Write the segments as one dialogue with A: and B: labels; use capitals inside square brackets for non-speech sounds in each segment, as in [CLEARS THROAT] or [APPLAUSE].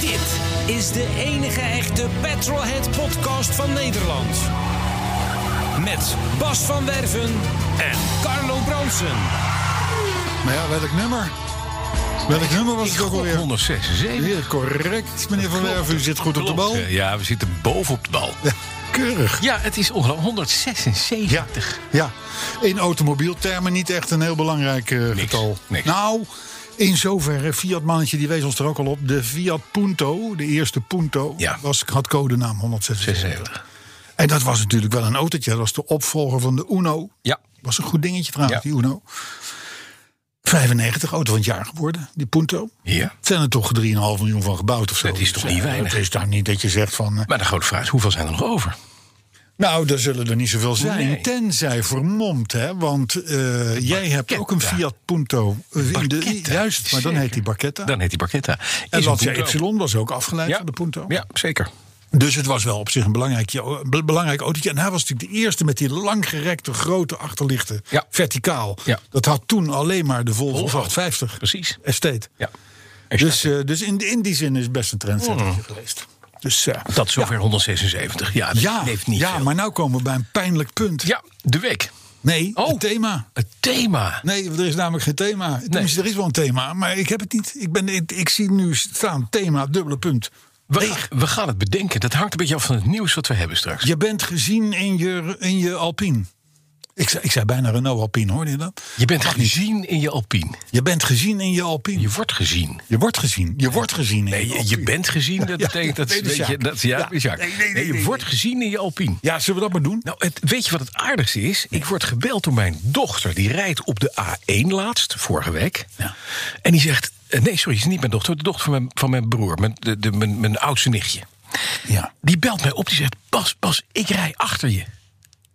A: Dit is de enige echte Petrolhead podcast van Nederland. Met Bas van Werven en Carlo Bronsen.
B: Nou ja, welk nummer? Welk nummer was het ook
C: Op
B: alweer?
C: 106, zeven.
B: Hier, correct, meneer Van Werven. U zit goed op de
C: Klopt,
B: bal.
C: eh, Ja, we zitten boven op de bal.
B: Keurig.
C: Ja, het is ongelooflijk. 176.
B: Ja, ja, in automobieltermen niet echt een heel belangrijk eh, getal.
C: niks.
B: Nou, in zoverre, Fiat mannetje die wees ons er ook al op. De Fiat Punto, de eerste Punto,
C: Ja.
B: was, had codenaam 176.
C: 76.
B: En dat was natuurlijk wel een autootje. Dat was de opvolger van de Uno.
C: Ja.
B: Was een goed dingetje trouwens,
C: Ja.
B: die Uno. 95, auto van het jaar geworden, die Punto.
C: Ja.
B: zijn er toch 3,5 miljoen van gebouwd of zo.
C: Dat is toch
B: Dus,
C: niet
B: eh,
C: weinig?
B: Het is daar niet dat je zegt van... eh,
C: Maar de grote vraag is, hoeveel zijn er nog over?
B: nou, daar zullen er niet zoveel zijn.
C: Nee.
B: Tenzij vermomd, hè. Want eh, jij hebt ook een Fiat Punto. eh, in de-
C: Barchetta,
B: juist, maar dan
C: zeker.
B: heet die Barchetta.
C: Dan heet die Barchetta.
B: en
C: Is
B: wat
C: een Punto.
B: Epsilon was ook afgeleid
C: Ja.
B: van de Punto.
C: Ja, zeker.
B: Dus het was wel op zich een belangrijk, ja, be- belangrijk autootje. En hij was natuurlijk de eerste met die langgerekte grote achterlichten.
C: Ja.
B: Verticaal.
C: Ja.
B: Dat had toen alleen maar de Volvo,
C: Volvo.
B: 850.
C: Precies.
B: Estate.
C: Ja.
B: Dus, eh, dus in, in die zin is het best een trendsetter
C: Hmm.
B: geweest. Dus eh,
C: Dat is ongeveer 176. Ja, dat
B: ja,
C: heeft niet
B: ja
C: veel.
B: maar nou komen we bij een pijnlijk punt.
C: Ja, de week.
B: Nee,
C: Oh.
B: het thema.
C: Het thema.
B: Nee, er is namelijk geen thema. Tenminste, Er is wel een thema, maar ik heb het niet. Ik, ben, ik, ik zie nu staan thema, dubbele punt.
C: We,
B: Leeg.
C: we gaan het bedenken. Dat hangt een beetje af van het nieuws wat we hebben straks.
B: Je bent gezien in je, in je Alpine. Ik zei, ik zei bijna Renault Alpine, hoorde je dat?
C: Je bent gezien in je Alpine.
B: Je bent gezien in je Alpine.
C: Je
B: Je,
C: wordt gezien.
B: wordt gezien. Je wordt gezien in
C: Nee,
B: je
C: je,
B: Alpine.
C: je bent gezien, dat
B: Ja,
C: betekent dat,
B: nee, dat is
C: weet je,
B: Jaak.
C: dat ja,
B: Ja.
C: is Jaak.
B: Nee, nee, nee,
C: Nee, je
B: nee,
C: wordt gezien in je Alpine.
B: Ja, zullen we dat maar doen?
C: Nou, het, weet je wat het aardigste is? Ik word gebeld door mijn dochter. Die rijdt op de A1 laatst, vorige week.
B: Ja.
C: En die zegt... eh, Nee, sorry, het is niet mijn dochter. De dochter van mijn, van mijn broer. Mijn, de, de- mijn, mijn oudste nichtje.
B: Ja.
C: Die belt mij op. Die zegt... Bas, Bas, ik rij achter je.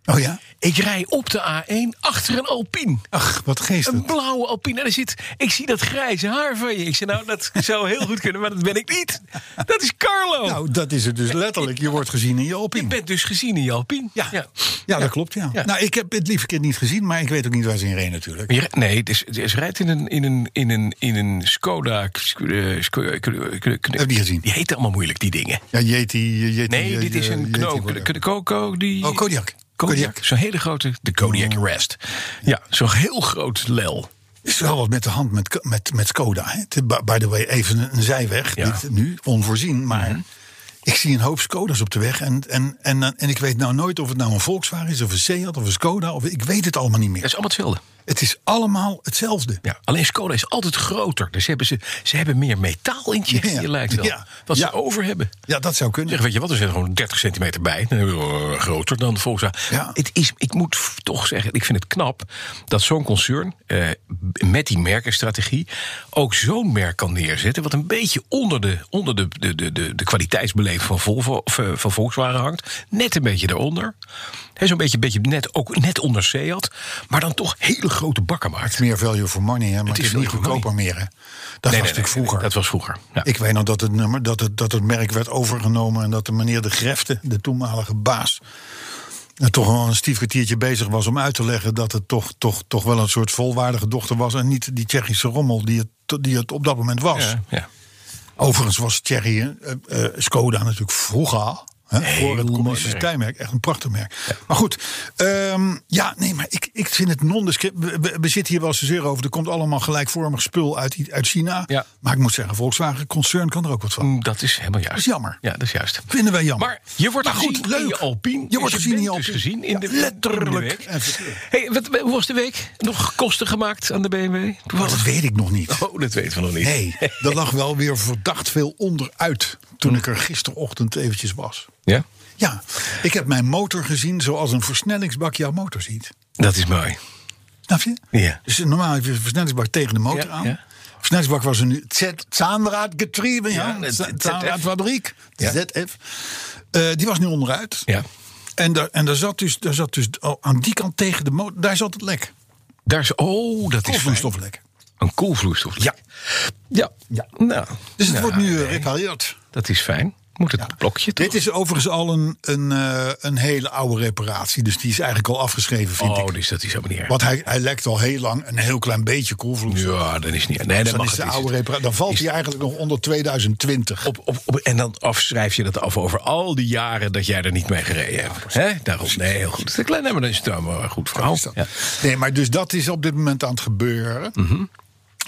B: Oh ja?
C: Ik rij op de A1 achter een Alpine.
B: Ach, wat geestig.
C: Een blauwe Alpine. En er zit, ik zie dat grijze haar van je. Ik zei, nou, dat zou heel goed kunnen, maar dat ben ik niet. Dat is Carlo.
B: Nou, dat is het dus letterlijk. Je wordt gezien in je
C: je
B: Alpine.
C: bent dus gezien in je Alpine.
B: Ja. Ja. dat klopt, ja.
C: Ja.
B: Nou, ik heb het lieve kind niet gezien, maar ik weet ook niet waar ze in reed natuurlijk.
C: Je- Nee, dus, dus ze rijdt in een, in een, in een, in een Skoda. k- sk- eh, sk- eh, k- eh, k- k-
B: Heb je gezien?
C: Die heten allemaal moeilijk, die dingen.
B: Ja, Yeti... Yeti
C: Nee,
B: eh,
C: dit is een
B: Yeti
C: knook.
B: worden.
C: De Coco, die...
B: Oh, Kodiak.
C: Kodiak.
B: Kodiak. Mm.
C: Zo'n hele grote... De Kodiak Rest. Ja, zo'n heel groot lel.
B: is wel wat met de hand met, met, met Skoda. Hè? Het- by- By the way, even een, een zijweg.
C: Ja. Mhm.
B: Niet nu, onvoorzien, maar... Ik zie een hoop Skoda's op de weg. En, en, en, en, ik weet nou nooit of het nou een Volkswagen is, of een Seat, of een Skoda. Of, ik weet het allemaal niet
C: Dat is
B: meer.
C: allemaal hetzelfde.
B: Het is allemaal hetzelfde.
C: Ja, alleen Skoda is altijd groter. Dus hebben ze, ze hebben meer metaal in het je,
B: Ja.
C: lijkt wel.
B: Ja.
C: Wat
B: Ja.
C: ze over hebben.
B: Ja, dat zou kunnen.
C: Zeg, weet je wat, er zit gewoon 30 centimeter bij. Dan hebben we, eh, Groter dan de Volkswagen.
B: Ja.
C: Het is, ik moet f- toch zeggen, ik vind het knap dat zo'n concern eh, b- met die merkenstrategie ook zo'n merk kan neerzetten. Wat een beetje onder de, onder de, de, de, de, de kwaliteitsbeleving van, Volvo, of, eh, van Volkswagen hangt. Net een beetje daaronder. Hè, Zo'n beetje, beetje net, ook net onder Seat. Maar dan toch hele grote bakken maakt.
B: meer value for money, hè? maar het
C: is
B: is, niet
C: value for
B: goedkoper meer. Hè? Dat was
C: Nee, nee,
B: natuurlijk
C: nee, nee,
B: vroeger.
C: Dat was vroeger. Ja.
B: Ik weet nog dat het, nummer, dat, het, dat het merk werd overgenomen en dat de meneer De Grefte, de toenmalige baas, er toch wel een stief kwartiertje bezig was om uit te leggen dat het toch, toch, toch wel een soort volwaardige dochter was en niet die Tsjechische rommel die het, die het op dat moment was.
C: Ja, ja.
B: Overigens was Thierry eh, eh, Skoda natuurlijk vroeger. Hè, voor het
C: mooi
B: communistische
C: merk.
B: tijdmerk. Echt een prachtig merk. Maar goed, ehm, ja, nee, maar ik, ik vind het nondescript. We, we, we zitten hier wel zozeer over. Er komt allemaal gelijkvormig spul uit, uit China.
C: Ja.
B: Maar ik moet zeggen, Volkswagen Concern kan er ook wat van.
C: Mm, Dat is helemaal juist.
B: Dat is jammer.
C: Ja, dat is juist.
B: Vinden wij jammer.
C: Maar je wordt
B: Maar goed,
C: gezien
B: leuk.
C: in je Alpine.
B: Je
C: Dus
B: wordt gezien in
C: bent
B: je
C: dus
B: Alpine.
C: gezien in
B: Ja,
C: de,
B: letterlijk.
C: in de week. Hey, wat, wat- hoe was de week? Nog kosten gemaakt aan de BMW?
B: Maar dat weet ik nog niet.
C: [LAUGHS] Oh, dat weten we nog niet.
B: Nee, er lag wel weer verdacht veel onderuit.
C: Mm.
B: toen ik er gisterochtend eventjes was.
C: Ja?
B: Ja, ik heb mijn motor gezien zoals een versnellingsbak jouw motor ziet.
C: Dat is mooi.
B: Snap je?
C: Ja.
B: Dus normaal heb je een versnellingsbak tegen de motor
C: Ja,
B: aan.
C: ja.
B: Snacksbak was er nu Z-Zahnradgetrieben, ja.
C: Ja, het-
B: Z-
C: het-
B: Zahnradfabriek,
C: Ja.
B: ZF. Eh, die was nu onderuit.
C: Ja.
B: En, daar, en daar zat dus, daar zat dus al aan die kant tegen de motor, daar zat het lek.
C: Daar is, oh, dat is fijn.
B: Koolvloeistoflek.
C: Een koelvloeistof.
B: Ja.
C: Ja.
B: Ja.
C: Nou,
B: Dus het
C: nou,
B: wordt nu gerepareerd.
C: dat is fijn. Moet het blokje toch?
B: Dit is overigens al een, een, eh, een hele oude reparatie. Dus die is eigenlijk al afgeschreven, vind
C: oh,
B: ik.
C: dus dat is helemaal niet erg.
B: Want hij, hij lekt al heel lang een heel klein beetje koelvloeistof.
C: Ja, dat is niet erg. Nee,
B: Dus
C: dat
B: dan,
C: mag
B: is de
C: het, is
B: oude
C: het.
B: repara- dan valt
C: is-
B: hij eigenlijk nog onder 2020.
C: Op, op, op, en dan afschrijf je dat af over al die jaren dat jij er niet mee gereden hebt. Hè? Daarom, nee, heel goed. De kleine, maar dan is het wel een goed verhaal.
B: Is dat.
C: oh, Ja. Mhm.
B: Nee, maar dus dat is op dit moment aan het gebeuren.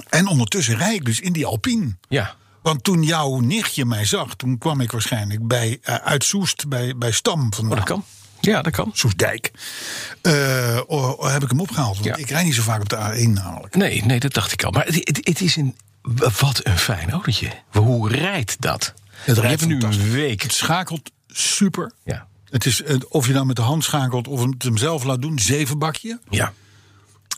B: En ondertussen rijd ik dus in die Alpine.
C: ja.
B: Want toen jouw nichtje mij zag, toen kwam ik waarschijnlijk bij, eh, uit Soest, bij, bij Stam vandaan.
C: Oh, dat kan. Ja, dat kan.
B: Soestdijk. Eh, oh, oh, heb ik hem opgehaald. Want
C: Ja.
B: ik rijd niet zo vaak op de A1 namelijk.
C: Nee, nee, dat dacht ik al. Maar het, het, het is een. Wat een fijn autootje. Hoe rijdt dat?
B: rijdt
C: Je hebt nu
B: fantastisch.
C: een week.
B: Het schakelt super.
C: Ja.
B: Het is, eh, of je nou met de hand schakelt of het hem zelf laat doen, zeven bakje.
C: Ja.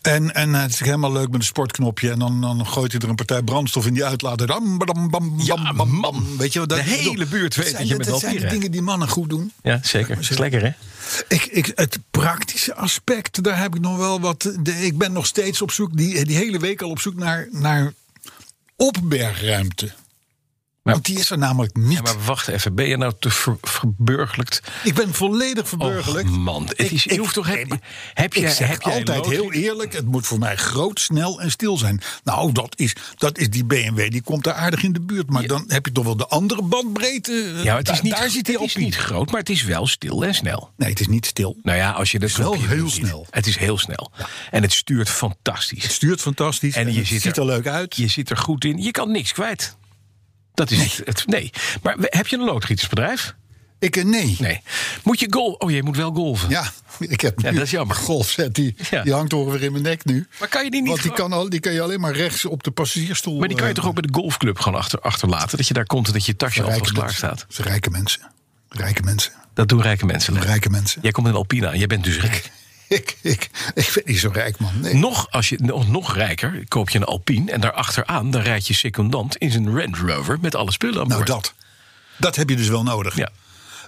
B: En, en het is helemaal leuk met een sportknopje. En dan, dan gooit hij er een partij brandstof in die uitlaat. En dan bam, bam, bam,
C: Ja,
B: bam, bam,
C: man.
B: Weet je, wat dat
C: De
B: ik bedoel?
C: hele buurt weet
B: Het zijn
C: dat je
B: de-
C: met
B: Dat
C: Alpine
B: zijn de
C: rijdt.
B: dingen die mannen goed doen.
C: ja, zeker. Is lekker, hè?
B: Ik, ik, het praktische aspect, daar heb ik nog wel wat. De, ik ben nog steeds op zoek, die, die hele week al op zoek naar, naar opbergruimte. Want die is er namelijk niet.
C: Ja, maar wacht even. Ben je nou te ver- verburgerlijkt?
B: ik ben volledig verburgerlijkt.
C: Och, man, het
B: Ik-
C: is, je
B: ik-
C: hoeft toch...
B: nee,
C: Heb,
B: maar
C: heb
B: Ik
C: jij,
B: zeg
C: heb jij een
B: altijd heel
C: loting?
B: eerlijk, het moet voor mij groot, snel en stil zijn. Nou, dat is, dat is die BMW, die komt daar aardig in de buurt. Maar dan heb je toch wel de andere bandbreedte. eh,
C: Ja, maar het is
B: Daar-
C: niet,
B: daar zit hij
C: het
B: op
C: is niet groot, maar het is wel stil en snel.
B: Nee, het is niet stil.
C: Nou ja, als je dat
B: wel
C: knopje
B: heel
C: doet, niet.
B: snel.
C: Het is heel snel. En het stuurt fantastisch.
B: Het stuurt fantastisch en,
C: En je
B: het
C: zit
B: ziet er,
C: er-
B: leuk uit.
C: Je zit er goed in. Je kan niks kwijt. Dat is het, het- Nee. Maar we- heb je een loodgietersbedrijf?
B: Ik, eh, nee.
C: Nee. Moet je golf? Oh, je moet wel golven.
B: Ja, ik heb
C: Ja,
B: nu
C: dat is jammer.
B: een golfset, die,
C: Ja.
B: die hangt toch weer in mijn nek nu.
C: Maar kan je die niet
B: Want die
C: gewoon-
B: kan, al, die kan je alleen maar rechts op de passagiersstoel... eh,
C: Maar die kan je toch ook bij de golfclub gewoon achter, achterlaten? Dat je daar komt en dat je tasje alvast klaar staat.
B: Ze rijke mensen. Rijke mensen.
C: Dat doen rijke mensen. Len.
B: Rijke mensen.
C: Jij komt in Alpina en jij bent dus rijk.
B: [LAUGHS] Ik, ik, ik ben niet zo rijk, man. Nee.
C: Nog, als je, nog, nog rijker koop je een Alpine en daarachteraan dan rijd je secondant in zijn Range Rover met alle spullen aan
B: Nou,
C: boord.
B: dat. Dat heb je dus wel nodig.
C: Ja.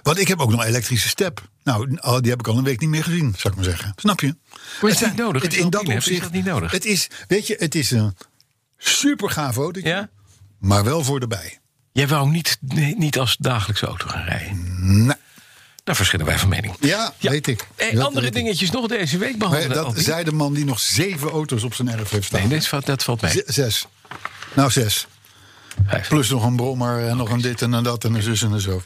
B: Want ik heb ook nog elektrische step. Nou, oh, die heb ik al een week niet meer gezien, zou ik maar zeggen. Snap je?
C: is
B: Het
C: niet
B: zijn-
C: nodig?
B: Het,
C: Als je
B: in
C: een
B: dat
C: Alpine hebt, is
B: opzicht,
C: dat niet nodig?
B: Het is, weet je, het is een super gaaf autootje,
C: Ja?
B: maar wel voor de bij.
C: Jij wou niet, nee, niet als dagelijkse auto gaan rijden.
B: Nou,
C: Daar verschillen wij van mening.
B: ja, weet ik.
C: Hey,
B: Dat
C: Eh, andere
B: weet ik.
C: dingetjes nog deze week behandelen.
B: Maar dat
C: Alpine?
B: zei de man die nog zeven auto's op zijn erf heeft staan.
C: Nee, dit valt, dat valt mee.
B: Z- Zes. Nou, zes.
C: Vijf.
B: Plus nog een brommer en nog een dit en een dat en een zus en een zo.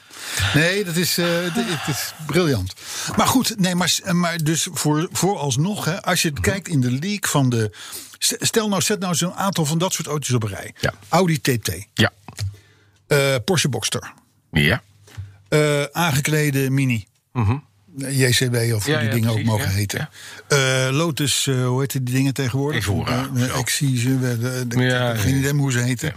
B: Nee, dat is, eh, dit- het is briljant. Maar goed, nee, maar, s- maar dus voor, vooralsnog, hè, als je het kijkt in de leak van de. st- Stel nou, zet nou zo'n aantal van dat soort auto's op een rij:
C: Ja.
B: Audi TT,
C: Ja.
B: eh, Porsche Boxster,
C: Ja.
B: eh, aangeklede Mini. JCB of hoe
C: Mhm. Ja,
B: die
C: ja,
B: dingen
C: precies,
B: ook mogen
C: ja,
B: heten. Eh, Lotus, eh, hoe heten die dingen tegenwoordig?
C: Evora,
B: Eh,
C: zo.
B: ik zie ze, we- de- de-
C: Ja,
B: geen
C: ja.
B: idee hoe ze heten.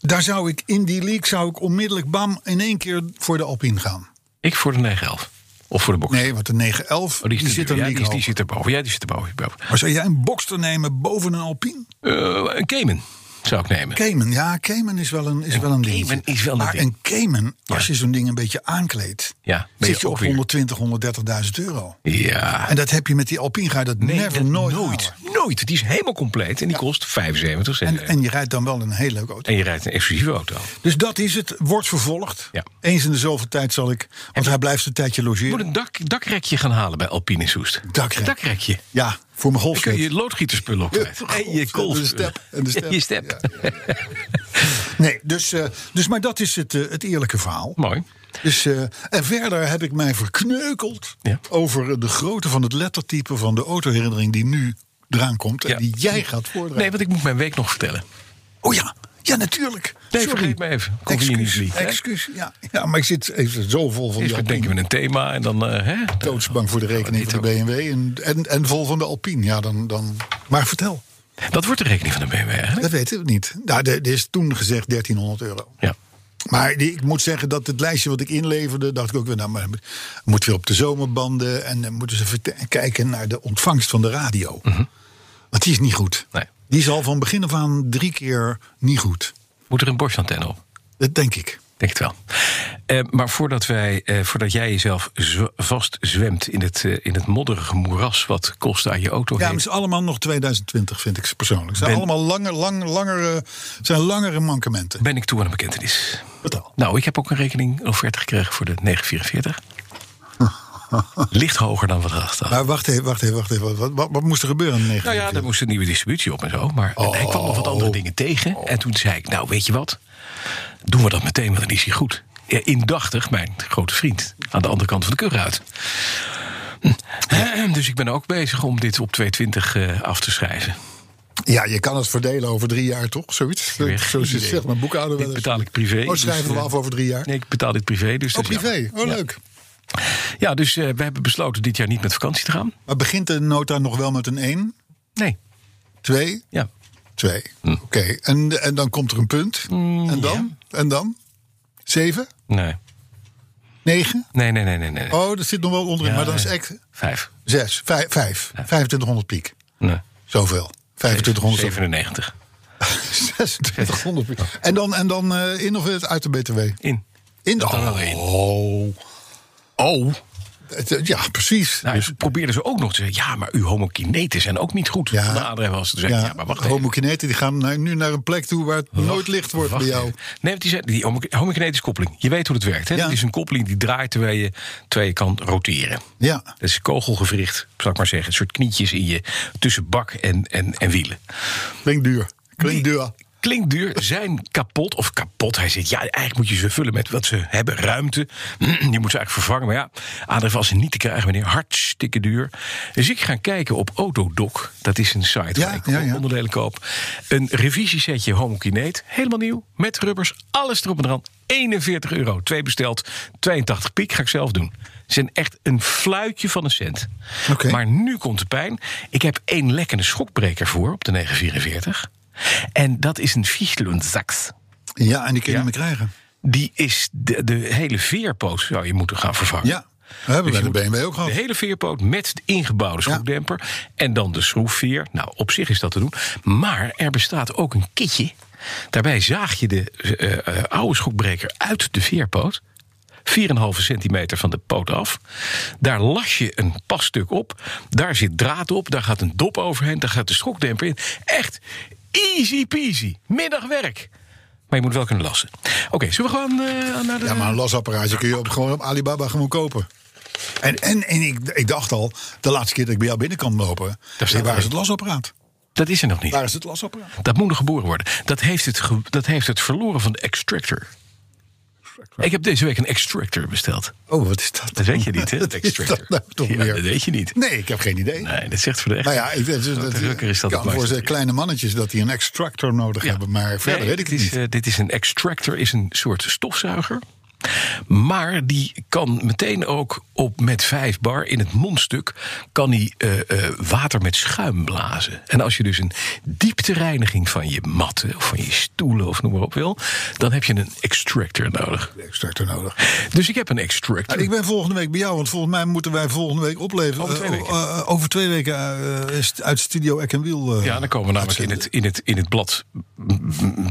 B: Daar zou ik in die league zou ik onmiddellijk bam in één keer voor de Alpine gaan.
C: Ik voor de 911. Of voor de box.
B: Nee, want de 911
C: Oh,
B: die,
C: is te
B: zit
C: duur.
B: er
C: Ja,
B: niet
C: die, is- die zit er boven. Ja, die zit er boven. boven.
B: Maar zou jij een Boxster nemen boven een Alpine?
C: Eh, een Cayman zou ik nemen.
B: Cayman, ja, Cayman is wel een, is wel een ding.
C: Cayman is wel een
B: maar
C: ding.
B: een Cayman, als je zo'n ding een beetje aankleedt,
C: Ja, ben je
B: zit je
C: ook
B: op
C: weer-
B: 120, 130.000 euro.
C: Ja.
B: En dat heb je met die Alpine, ga je dat never,
C: dat-
B: nooit,
C: nooit.
B: halen.
C: Nooit. Die is helemaal compleet en die kost 75 cent.
B: En,
C: En,
B: en je rijdt dan wel een hele leuke auto.
C: je rijdt een exclusieve auto.
B: Dus dat is het, wordt vervolgd.
C: Ja.
B: Eens in de zoveel tijd zal ik, want hij blijft een tijdje
C: Je moet
B: logeren.
C: een dak, dakrekje gaan halen bij Alpine in Soest.
B: Dakrek.
C: dakrekje.
B: Ja, voor mijn
C: Dan kun
B: golfset.
C: je je loodgieterspullen ook kwijt.
B: Ja,
C: En je
B: en
C: golf.
B: de step, en de step.
C: [LAUGHS] Je step.
B: Nee, dus, eh, dus maar dat is het, eh, het eerlijke verhaal.
C: Mooi.
B: Dus, eh, en verder heb ik mij verkneukeld
C: Ja.
B: over de grootte van het lettertype van de autoherinnering die nu eraan komt en
C: Ja.
B: die jij gaat voordragen.
C: Nee, want ik moet mijn week nog vertellen.
B: Oh ja, ja natuurlijk.
C: Nee,
B: Sorry.
C: vergeet me even. Conveniently,
B: Excuus,
C: hè?
B: excuus. Ja. ja, maar ik zit even zo vol van
C: Eerst
B: die
C: bedenken
B: Alpine.
C: we een thema en dan... eh, hè?
B: doodsbang voor de rekening van de BMW en, en, en vol van de Alpine. Ja, dan, dan. Maar vertel,
C: Dat wordt de rekening van de BMW eigenlijk.
B: dat weten we niet. Nou, er er is toen gezegd 1300 euro.
C: Ja.
B: Maar die- ik moet zeggen dat het lijstje wat ik inleverde, dacht ik ook weer, nou, maar het moet weer op de zomerbanden en dan moeten ze verte- kijken naar de ontvangst van de radio. Want die is niet goed.
C: Mhm. Nee.
B: Die is al van begin af aan drie keer niet goed.
C: Moet er een borstantenne op?
B: Dat denk ik.
C: Denk het wel. Eh, maar voordat, wij, eh, voordat jij jezelf z- vastzwemt in het, eh, in het modderige moeras wat Costa je auto
B: Ja, maar
C: heet.
B: het is allemaal nog 2020, vind ik ze persoonlijk. Het zijn
C: Ben-
B: allemaal langer, lang, langere, zijn langere mankementen.
C: ben ik toe aan een bekentenis.
B: Betaal.
C: Nou, ik heb ook een rekening, een offerte gekregen voor de
B: [LAUGHS]
C: 944. Licht hoger dan wat gedacht had.
B: Maar wacht even, wacht even, wacht even. Wat, wat, wat, moest er gebeuren in
C: Nou ja,
B: 1940?
C: daar moest een nieuwe distributie op en zo. Maar ik kwam nog wat
B: Oh.
C: andere dingen tegen. En toen zei ik, nou weet je wat? Doen we dat meteen, want dan is hij goed. Ja, indachtig, mijn grote vriend. Aan de andere kant van de keur uit. [CLEARS THROAT] Dus ik ben ook bezig om dit op 220 eh, af te schrijven.
B: Ja, je kan het verdelen over drie jaar, toch? Zoiets.
C: Weer
B: Zo
C: geen
B: zit-
C: idee.
B: zegt mijn boekhouder wel
C: Dit
B: eens.
C: betaal ik privé.
B: Oh, schrijven
C: dus,
B: we
C: eh,
B: af over drie jaar?
C: Nee, ik betaal dit privé. Dus
B: Oh,
C: dat is
B: privé.
C: jammer.
B: Oh,
C: Ja.
B: leuk.
C: Ja, dus eh, we hebben besloten dit jaar niet met vakantie te gaan.
B: Maar begint de nota nog wel met een 1,
C: Nee,
B: 2,
C: ja.
B: 2.
C: Hm.
B: Oké, en, en dan komt er een punt. en dan? En dan? 7,
C: Nee,
B: 9.
C: nee, nee, nee, nee. nee.
B: Oh, dat zit nog wel onderin,
C: Ja,
B: maar dan is
C: ja.
B: echt
C: Vijf.
B: 6, 5, 2500 piek.
C: Nee.
B: Zoveel. 2500 [LAUGHS] zoveel.
C: 97.
B: 2600 piek. En dan, en dan eh, in of het- uit de BTW?
C: In.
B: In de
C: Dat kan wel in.
B: Oh.
C: Oh.
B: Het, eh, Ja, precies.
C: Nou, dus probeerden ze ook nog te zeggen: ja, maar uw homokineten zijn ook niet goed.
B: Ja.
C: Van de andere was te zeggen: ja, maar wacht even.
B: homokineten die gaan naar- nu naar een plek toe waar het nooit
C: Wacht-
B: licht wordt bij
C: wacht
B: jou.
C: even. Nee, want die, zei- die homo- homokinetische koppeling. Je weet hoe dat werkt. Hè?
B: Ja.
C: Dat is een koppeling die draait terwijl je, terwijl je kan roteren.
B: Ja.
C: Dat is kogelgewricht, zou ik maar zeggen. Een soort knietjes in je tussen bak en, en, en wielen.
B: Klinkt duur. Klinkt
C: Die
B: duur.
C: Klinkt duur, zijn kapot of kapot. Hij zegt, ja, eigenlijk moet je ze vullen met wat ze hebben, ruimte. [CLEARS THROAT] Die moet ze eigenlijk vervangen. Maar ja, ADF was ze niet te krijgen, meneer. Hartstikke duur. Dus ik ga kijken op Autodoc. Dat is een site
B: Ja,
C: waar ik
B: ja, ja.
C: onderdelen koop. Een revisiesetje homokineet, helemaal nieuw, met rubbers, alles erop en eraan. 41 euro, twee besteld, 82 piek, ga ik zelf doen. Ze zijn echt een fluitje van een cent.
B: Oké.
C: Maar nu komt de pijn. Ik heb één lekkende schokbreker voor op de 944. En dat is een Fichtelundsachs.
B: Ja, en die kun je
C: Ja.
B: niet meer krijgen.
C: Die is de, de hele veerpoot zou je moeten gaan vervangen.
B: Ja, we hebben
C: Dus
B: bij
C: je
B: de
C: moet
B: BMW ook gehad.
C: De hele veerpoot met de ingebouwde schroefdemper. En dan de schroefveer. Nou, op zich is dat te doen. Maar er bestaat ook een kitje. Daarbij zaag je de eh, eh, oude schroefbreker uit de veerpoot. 4,5 centimeter van de poot af. Daar las je een passtuk op. Daar zit draad op. Daar gaat een dop overheen. Daar gaat de schokdemper in. Echt easy peasy. Middagwerk. Maar je moet wel kunnen lassen. Oké, zullen we gewoon eh, naar de...
B: Ja, maar een lasapparaatje kun je op, gewoon op Alibaba gewoon kopen. En, en, en ik, ik dacht al, de laatste keer dat ik bij jou binnen kan lopen...
C: staat
B: hey, waar
C: er.
B: is het lasapparaat?
C: Dat is er nog niet.
B: Waar is het lasapparaat?
C: Dat moet nog geboren worden. Dat heeft het, ge- dat heeft het verloren van de extractor. Ik heb deze week een extractor besteld.
B: Oh, wat is dat?
C: Dat weet je niet,
B: [LAUGHS]
C: hè?
B: Wat
C: Dat
B: is dat nou toch
C: ja,
B: weer?
C: dat weet je niet.
B: Nee, ik heb geen idee.
C: Nee, dat zegt voor de echt.
B: Nou ja, ik, dat,
C: Wat
B: dat,
C: drukker is dat
B: kan
C: het
B: voor
C: mooiste.
B: zijn kleine mannetjes dat die een extractor nodig
C: Ja.
B: hebben. Maar verder
C: Nee,
B: weet ik het
C: is,
B: niet.
C: eh, dit is een extractor, is een soort stofzuiger. Maar die kan meteen ook op met 5 bar in het mondstuk kan die, eh, eh, water met schuim blazen. En als je dus een dieptereiniging van je matten of van je stoelen of noem maar op wil, dan heb je een extractor nodig.
B: extractor
C: [LAUGHS]
B: nodig.
C: Dus ik heb een extractor.
B: Nou, ik ben volgende week bij jou, want volgens mij moeten wij volgende week opleveren.
C: Over twee
B: Eh,
C: weken.
B: eh, eh, over twee weken eh, is het uit Studio Eck en Wiel. eh,
C: ja, dan komen we namelijk in het, in het, in het blad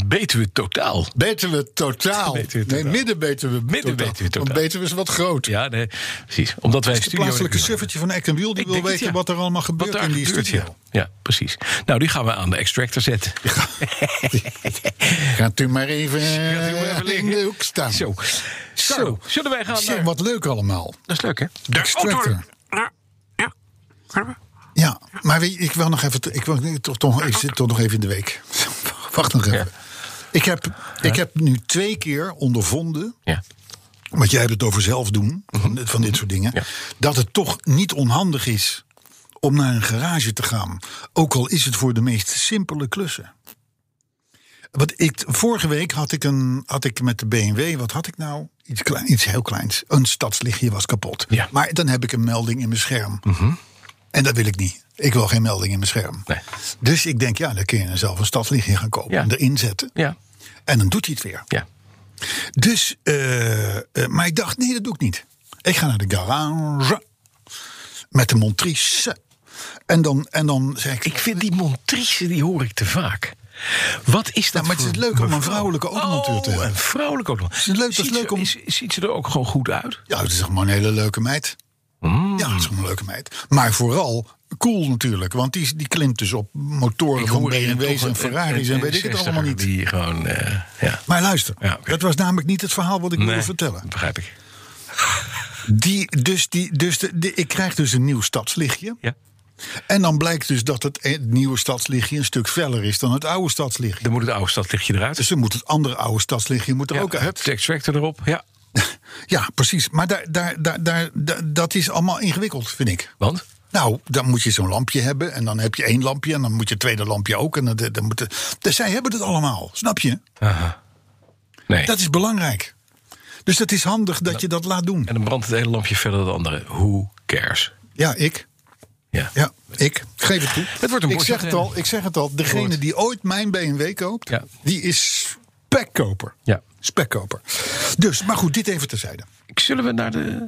C: weten we totaal.
B: Beten we totaal.
C: Betuwe
B: Nee,
C: totaal.
B: midden beten we
C: Midden
B: totaal.
C: Betuwe totaal.
B: Want beten we is wat groot.
C: Ja, nee, precies. Omdat wij
B: De
C: studio
B: plaatselijke suffertje van Eck en Wiel die
C: Ik
B: wil
C: denk het,
B: weten
C: ja.
B: wat er allemaal gebeurt
C: Wat daar
B: in die
C: gebeurt,
B: studio.
C: ja. Ja, precies. Nou, die gaan we aan de extractor zetten.
B: Gaat u maar even,
C: Gaat u maar even
B: eh, in
C: liggen.
B: de hoek staan.
C: Zo. Zo. Zullen wij gaan
B: Zeg,
C: naar...
B: wat leuk allemaal.
C: Dat is leuk, hè?
B: Extractor.
C: oh, Ja.
B: Ja, maar weet je, ik wil nog even. Ik, wil, nee, toch, toch, ik zit toch nog even in de week. [LAUGHS] Wacht nog even.
C: Ja.
B: Ik, heb, ik heb nu twee keer ondervonden.
C: Ja.
B: Want jij hebt het over zelf doen, van, van dit soort dingen.
C: Mhm. Ja.
B: Dat het toch niet onhandig is om naar een garage te gaan. Ook al is het voor de meest simpele klussen. Want ik, vorige week had ik, een, had ik met de BMW, wat had ik nou? Iets, klein, iets heel kleins. Een stadslichtje was kapot.
C: Ja. Mhm.
B: Maar dan heb ik een melding in mijn scherm. En dat wil ik niet. Ik wil geen melding in mijn scherm.
C: Nee.
B: Dus ik denk, ja, dan kun je dan zelf een stadslichtje gaan kopen.
C: Ja.
B: En erin zetten.
C: Ja.
B: En dan doet hij het weer.
C: Ja.
B: Dus, eh, eh, maar ik dacht, nee, dat doe ik niet. Ik ga naar de garage met de Montrice. En dan, en dan zeg ik. nou,
C: Ik vind die Montrice, die hoor ik te vaak. Wat is
B: Ja, Nou,
C: dat
B: maar het is
C: voor
B: leuk om een
C: mevrouw?
B: vrouwelijke automonteur te
C: Oh,
B: hebben.
C: een vrouwelijke automonteur.
B: Het is leuk- dat is
C: Ziet
B: leuk
C: ze-
B: om-
C: is- Ziet ze er ook gewoon goed uit?
B: Ja, het is gewoon een hele leuke meid.
C: Mm.
B: Ja, het is gewoon een leuke meid. Maar vooral cool natuurlijk, want die, die klimt dus op motoren van
C: hier
B: BMW's
C: toch
B: en
C: een-
B: Ferraris
C: een-
B: en
C: een
B: weet ik het
C: 60er
B: allemaal niet.
C: Die gewoon, eh, ja.
B: Maar luister,
C: Ja, oké.
B: dat was namelijk niet het verhaal wat ik wilde
C: Nee,
B: vertellen.
C: Begrijp ik.
B: Die, dus die, dus de, de- ik krijg dus een nieuw stadslichtje.
C: Ja.
B: En dan blijkt dus dat het, e- het nieuwe stadslichtje een stuk feller is dan het oude stadslichtje.
C: Dan moet het oude stadlichtje eruit.
B: Dus dan moet het andere oude stadslichtje moet er
C: ja,
B: ook
C: hup,
B: uit.
C: de extractor erop. Ja.
B: Ja, precies. Maar daar, daar, daar, daar, da- dat is allemaal ingewikkeld, vind ik.
C: Want?
B: Nou, dan moet je zo'n lampje hebben. En dan heb je één lampje. En dan moet je het tweede lampje ook. En dan, dan moet de- dus zij hebben het allemaal, snap je?
C: Aha. Nee.
B: Dat is belangrijk. Dus het is handig dat je dat laat doen.
C: En dan brandt het ene lampje verder dan het andere. Who cares?
B: Ja, ik.
C: Ja.
B: Ja, ik. Geef het toe.
C: Het wordt een
B: ik
C: mooi
B: zeg het
C: zeggen.
B: al, Ik zeg het al. Degene
C: Woord.
B: die ooit mijn BMW koopt,
C: Ja.
B: die is spekkoper.
C: Ja.
B: Spekkoper. Dus, maar goed, dit even terzijde.
C: Ik- Zullen we naar de...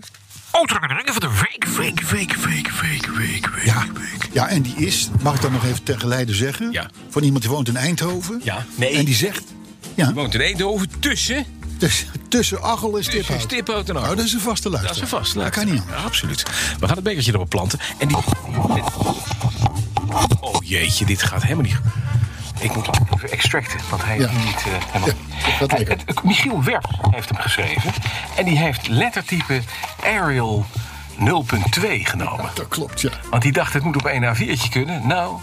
C: Autoherinneringen van de week, week, week, week, week, week, week,
B: Ja.
C: week.
B: ja, en die is, mag ik dat nog even tegelijk zeggen?
C: Ja.
B: Van iemand die woont in Eindhoven.
C: Ja, nee.
B: En die zegt... Ja,
C: Woont in Eindhoven tussen...
B: tussen, tussen Achel en
C: Tussen
B: Stiphout.
C: Stiphout en Achel.
B: Oh, dat is een vaste
C: Dat
B: luisteraar.
C: is een vast.
B: Dat kan niet anders.
C: Ja, absoluut. We gaan het bekertje erop planten. En die... Oh jeetje, dit gaat helemaal niet... Ik moet hem even extracten, want hij
B: Ja.
C: is niet eh, helemaal...
B: Ja, dat
C: Hij-
B: lekker.
C: het- Michiel Werp heeft hem geschreven. En die heeft lettertype Arial 0.2 genomen.
B: Dat klopt, ja.
C: Want die dacht, het moet op één A4'tje kunnen. Nou,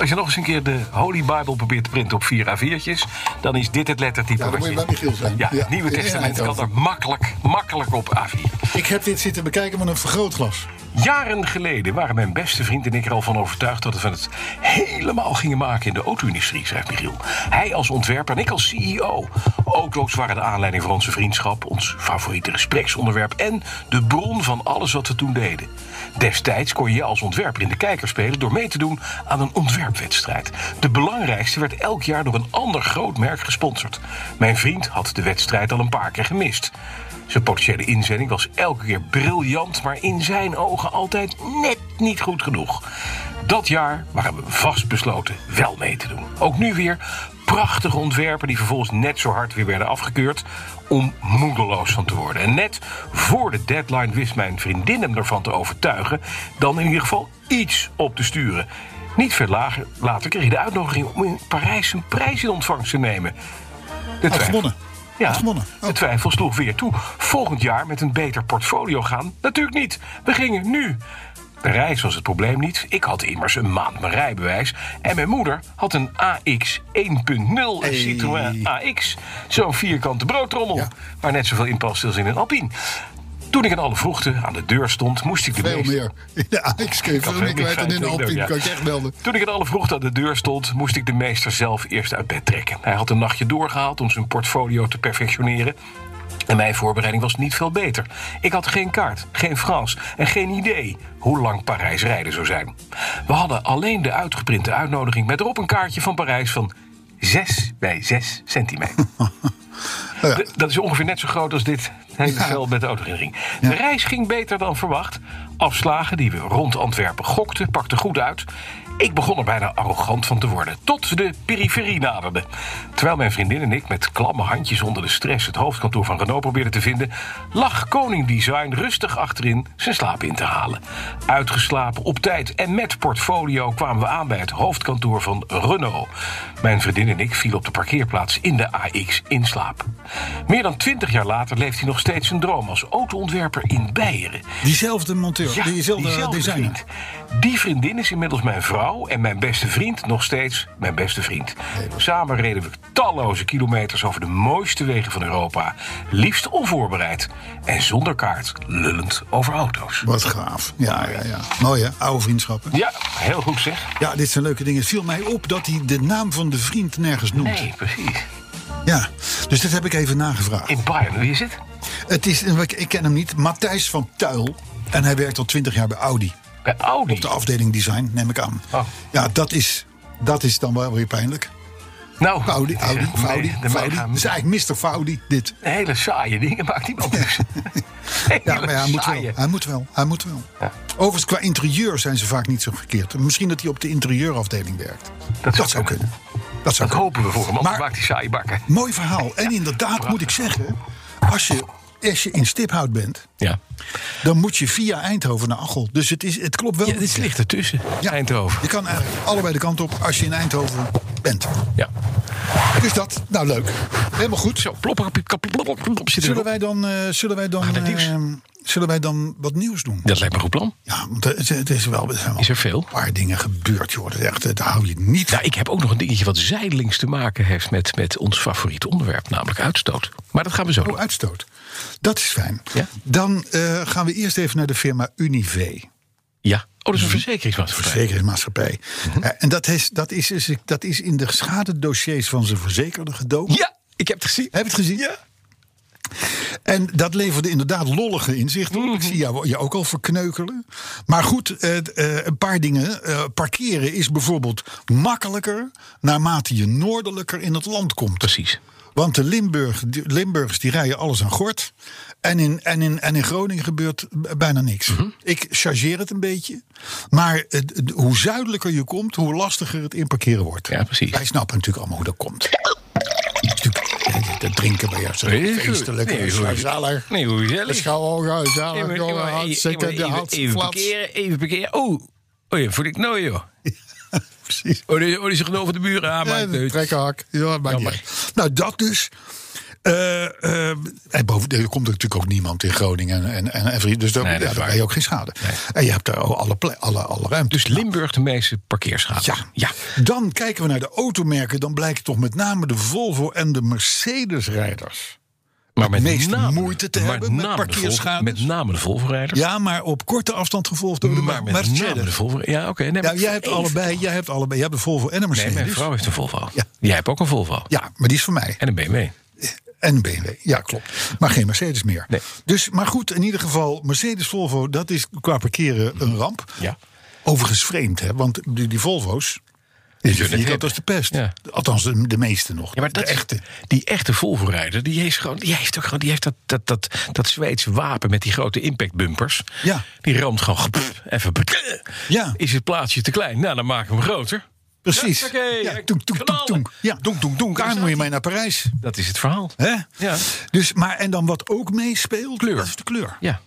C: als je nog eens een keer de Holy Bible probeert te printen op vier A4'tjes... dan is dit het lettertype.
B: Ja, dan
C: wat
B: moet je bij Michiel zijn.
C: Ja,
B: Ja,
C: het Nieuwe
B: in
C: Testament kan
B: Eindhoven.
C: er makkelijk, makkelijk op A4.
B: Ik heb dit zitten bekijken met een vergrootglas.
C: Jaren geleden waren mijn beste vriend en ik er al van overtuigd... dat we het helemaal gingen maken in de auto-industrie, schrijft Michiel. Hij als ontwerper en ik als CEO. Auto's waren de aanleiding voor onze vriendschap... ons favoriete gespreksonderwerp en de bron van alles wat we toen deden. Destijds kon je als ontwerper in de kijker spelen... door mee te doen aan een ontwerpwedstrijd. De belangrijkste werd elk jaar door een ander groot merk gesponsord. Mijn vriend had de wedstrijd al een paar keer gemist. Zijn potentiële inzending was elke keer briljant, maar in zijn ogen altijd net niet goed genoeg. Dat jaar waren we vastbesloten wel mee te doen. Ook nu weer prachtige ontwerpen die vervolgens net zo hard weer werden afgekeurd om moedeloos van te worden. En net voor de deadline wist mijn vriendin hem ervan te overtuigen dan in ieder geval iets op te sturen. Niet veel lager, later kreeg hij de uitnodiging om in Parijs een prijs in ontvangst te nemen. De
B: Had
C: twijfel-
B: gewonnen.
C: ja,
B: Had gewonnen. Oh.
C: de twijfel sloeg weer toe. Volgend jaar met een beter portfolio gaan? Natuurlijk niet. We gingen nu. De reis was het probleem niet. Ik had immers een maand mijn rijbewijs. En mijn moeder had een AX 1.0 een Citroën AX. Zo'n vierkante broodtrommel.
B: Ja.
C: Waar net zoveel in past als in een Alpine. Toen ik in alle vroegte aan de deur stond, moest ik de
B: Veel
C: meest-
B: meer. Ja, ik schreef veel
C: kan veel
B: meer
C: meer
B: kwijt dan in de
C: kwijt,
B: Alpine.
C: ja.
B: Kan ik je echt melden.
C: Toen ik in alle vroegte aan de deur stond, moest ik de meester zelf eerst uit bed trekken. Hij had een nachtje doorgehaald om zijn portfolio te perfectioneren. En mijn voorbereiding was niet veel beter. Ik had geen kaart, geen Frans en geen idee hoe lang Parijs rijden zou zijn. We hadden alleen de uitgeprinte uitnodiging met erop een kaartje van Parijs van 6 bij 6 centimeter.
B: Nou Ja.
C: D- Dat is ongeveer net zo groot als dit hele
B: Ja.
C: veld met de autoherinnering. De reis ging beter dan verwacht. Afslagen die we rond Antwerpen gokten, pakten goed uit. Ik begon er bijna arrogant van te worden, tot we de periferie naderden. Terwijl mijn vriendin en ik met klamme handjes onder de stress... het hoofdkantoor van Renault probeerden te vinden... lag Koning Design rustig achterin zijn slaap in te halen. Uitgeslapen, op tijd en met portfolio kwamen we aan bij het hoofdkantoor van Renault. Mijn vriendin en ik vielen op de parkeerplaats in de AX in slaap. Meer dan twintig jaar later leeft hij nog steeds zijn droom als autoontwerper in Beieren.
B: Diezelfde monteur,
C: Ja,
B: diezelfde,
C: diezelfde
B: eh, designer.
C: vriend. Die vriendin is inmiddels mijn vrouw en mijn beste vriend nog steeds mijn beste vriend. Samen reden we talloze kilometers over de mooiste wegen van Europa. Liefst onvoorbereid en zonder kaart, lullend over auto's.
B: Wat gaaf. Ja, ja, ja. Mooi hè, oude vriendschappen.
C: Ja, heel goed zeg.
B: Ja, dit zijn leuke dingen. Het viel mij op dat hij de naam van de vriend nergens noemt.
C: Nee, precies.
B: Ja, dus dat heb ik even nagevraagd.
C: In Bayern, wie is het?
B: Het is, ik ik ken hem niet, Matthijs van Tuil. En hij werkt al twintig jaar bij Audi.
C: Bij Audi.
B: Op de afdeling design, neem ik aan.
C: Oh.
B: Ja, dat is, dat is dan wel weer pijnlijk.
C: nou, [LAUGHS]
B: Audi,
C: het is
B: Audi,
C: echt me-
B: Audi,
C: de
B: Audi.
C: mega-
B: Het is eigenlijk Mr. Faudi, dit. [LAUGHS]
C: Hele saaie dingen maakt die man dus.
B: Ja, maar ja, hij moet wel.
C: Saaie.
B: Hij moet wel. Hij moet wel. Overigens, qua interieur zijn ze vaak niet zo verkeerd. Misschien dat hij op de interieurafdeling werkt. Dat, zou kunnen. Dat zou kunnen.
C: Dat hopen we voor hem, anders
B: Maar-
C: maakt hij saaie bakken.
B: Mooi verhaal. En inderdaad moet ik zeggen, als je, als je in Stiphout bent,
C: Ja.
B: dan moet je via Eindhoven naar Achel. Dus het, is, het klopt wel.
C: ja, dit ligt ertussen.
B: Ja.
C: Eindhoven.
B: Je kan eigenlijk allebei de kant op als je in Eindhoven bent.
C: Ja.
B: Dus dat, nou leuk. Helemaal goed.
C: Zo, plopper, plop, plop, plop, plop, zit
B: Zullen wij
C: erop.
B: dan, eh, zullen wij dan,
C: dat nieuws.
B: eh, zullen wij dan wat nieuws doen?
C: Dat lijkt me een goed plan.
B: Ja, want het, het is wel, er zijn wel
C: Is er veel?
B: een paar dingen gebeurd, joh. Dat, is echt, dat hou je niet.
C: Nou, ik heb ook nog een dingetje wat zijdelings te maken heeft met, met ons favoriete onderwerp, namelijk uitstoot. Maar dat gaan we zo
B: Oh,
C: doen.
B: uitstoot. Dat is fijn.
C: Ja.
B: Dan eh, gaan we eerst even naar de firma Unive.
C: Ja. Oh, dat is
B: Hm.
C: een verzekeringsmaatschappij.
B: Verzekeringsmaatschappij.
C: Mhm.
B: Eh, en dat is, dat, is, is- dat is in de schadedossiers van zijn verzekerder gedoken.
C: Ja, ik heb het gezien.
B: Heb je het gezien? Ja. En dat leverde inderdaad lollige inzichten op. Ik zie jou je ook al verkneukelen. Maar goed, eh, eh, een paar dingen. Eh, parkeren is bijvoorbeeld makkelijker naarmate je noordelijker in het land komt.
C: Precies.
B: Want de Limburg, die- Limburgers die rijden alles aan gort. En in, en in, en in Groningen gebeurt b- bijna niks.
C: Mhm.
B: Ik chargeer het een beetje. Maar het- het- hoe zuidelijker je komt, hoe lastiger het inparkeren wordt.
C: Ja, precies.
B: Wij snappen natuurlijk allemaal hoe dat komt. Natuurlijk, eh, dat drinken bij jou zo
C: Nee,
B: feestelijk.
C: nee,
B: en zo
C: nee,
B: gezellig.
C: nee, hoe gezellig.
B: Het is gewoon gezellig,
C: Even,
B: jongen.
C: even-
B: Hartstikke
C: even- even-
B: hartstikke
C: even
B: flats.
C: parkeren, even parkeren. Oh, oh ja, voel ik nou joh.
B: [LAUGHS] Precies.
C: Oh, die, oh, die is genomen van de buren aan.
B: Ja,
C: maar
B: een
C: het-
B: trekkerhak. Ja, maakt niet
C: Jammer.
B: uit. Nou, dat dus. Eh, eh, en bovendien er komt er natuurlijk ook niemand in Groningen en, en, en Friesland, Dus daar,
C: Nee, dat
B: ja,
C: is
B: daar
C: waar.
B: ben je ook geen schade. En je hebt daar ook alle, ple- alle, alle ruimte.
C: Dus Limburg de meeste parkeerschade.
B: Ja.
C: ja.
B: Dan kijken we naar de automerken. Dan blijken toch met name de Volvo en de Mercedes-rijders.
C: Maar met
B: meest
C: name,
B: moeite te
C: maar
B: hebben met
C: name de Volvo-
B: parkeerschades.
C: Met name de Volvo-rijders.
B: Ja, maar op korte afstand gevolgd door de
C: maar met name de
B: Mercedes.
C: Volvo. Ja, oké. nee,
B: Ja,
C: maar
B: jij hebt
C: even-
B: allebei. Jij hebt allebei. Jij hebt de Volvo en de
C: Nee,
B: Mercedes.
C: mijn vrouw heeft een Volvo.
B: Ja.
C: Jij hebt ook een Volvo.
B: Ja, maar die is van mij.
C: En een BMW.
B: En een BMW, ja klopt. Maar geen Mercedes meer.
C: Nee.
B: Dus, maar goed, in ieder geval, Mercedes-Volvo, dat is qua parkeren een ramp.
C: Ja.
B: Overigens vreemd, hè, want die, die Volvo's, die
C: kunnen het
B: vierkant
C: hebben.
B: als de pest.
C: Ja.
B: Althans, de, de meeste nog,
C: Ja, maar dat
B: de echte.
C: Die echte Volvo-rijder, die heeft gewoon, die heeft ook gewoon, die heeft dat, dat, dat, dat Zweedse wapen met die grote impactbumpers.
B: Ja.
C: Die ramt gewoon pff, even.
B: Ja.
C: Is het plaatsje te klein? Nou, dan maken we hem groter.
B: Precies.
C: Ja, oké.
B: ja, toek, toek, toek,
C: Knallen.
B: toek. Ja, donk, donk, donk. Daar moet je mee naar Parijs.
C: Dat is het verhaal.
B: Hè?
C: Ja.
B: Dus, maar, en dan wat ook meespeelt,
C: Kleur.
B: dat is de kleur.
C: Ja.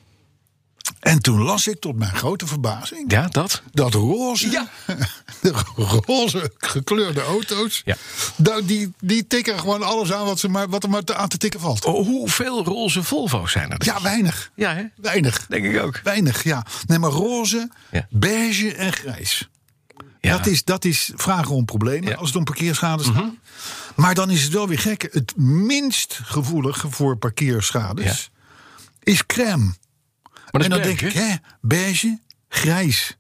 B: En toen las ik tot mijn grote verbazing
C: Ja, dat.
B: dat roze,
C: Ja.
B: [LAUGHS] de roze gekleurde auto's,
C: Ja.
B: nou, die, die tikken gewoon alles aan wat, ze maar, wat er maar te- aan te tikken valt.
C: Oh, hoeveel roze Volvo's zijn er?
B: Ja, weinig.
C: Ja, hè?
B: Weinig.
C: Denk ik ook.
B: Weinig, ja. Nee, maar roze,
C: Ja.
B: beige en grijs.
C: Ja.
B: Dat, is, dat is vragen om problemen
C: Ja. Mhm.
B: als het om parkeerschades gaat. Maar dan is het wel weer gek. Het minst gevoelige voor parkeerschades is crème.
C: Maar dat is
B: en dan
C: leuk,
B: denk ik,
C: hè?
B: hè, beige, grijs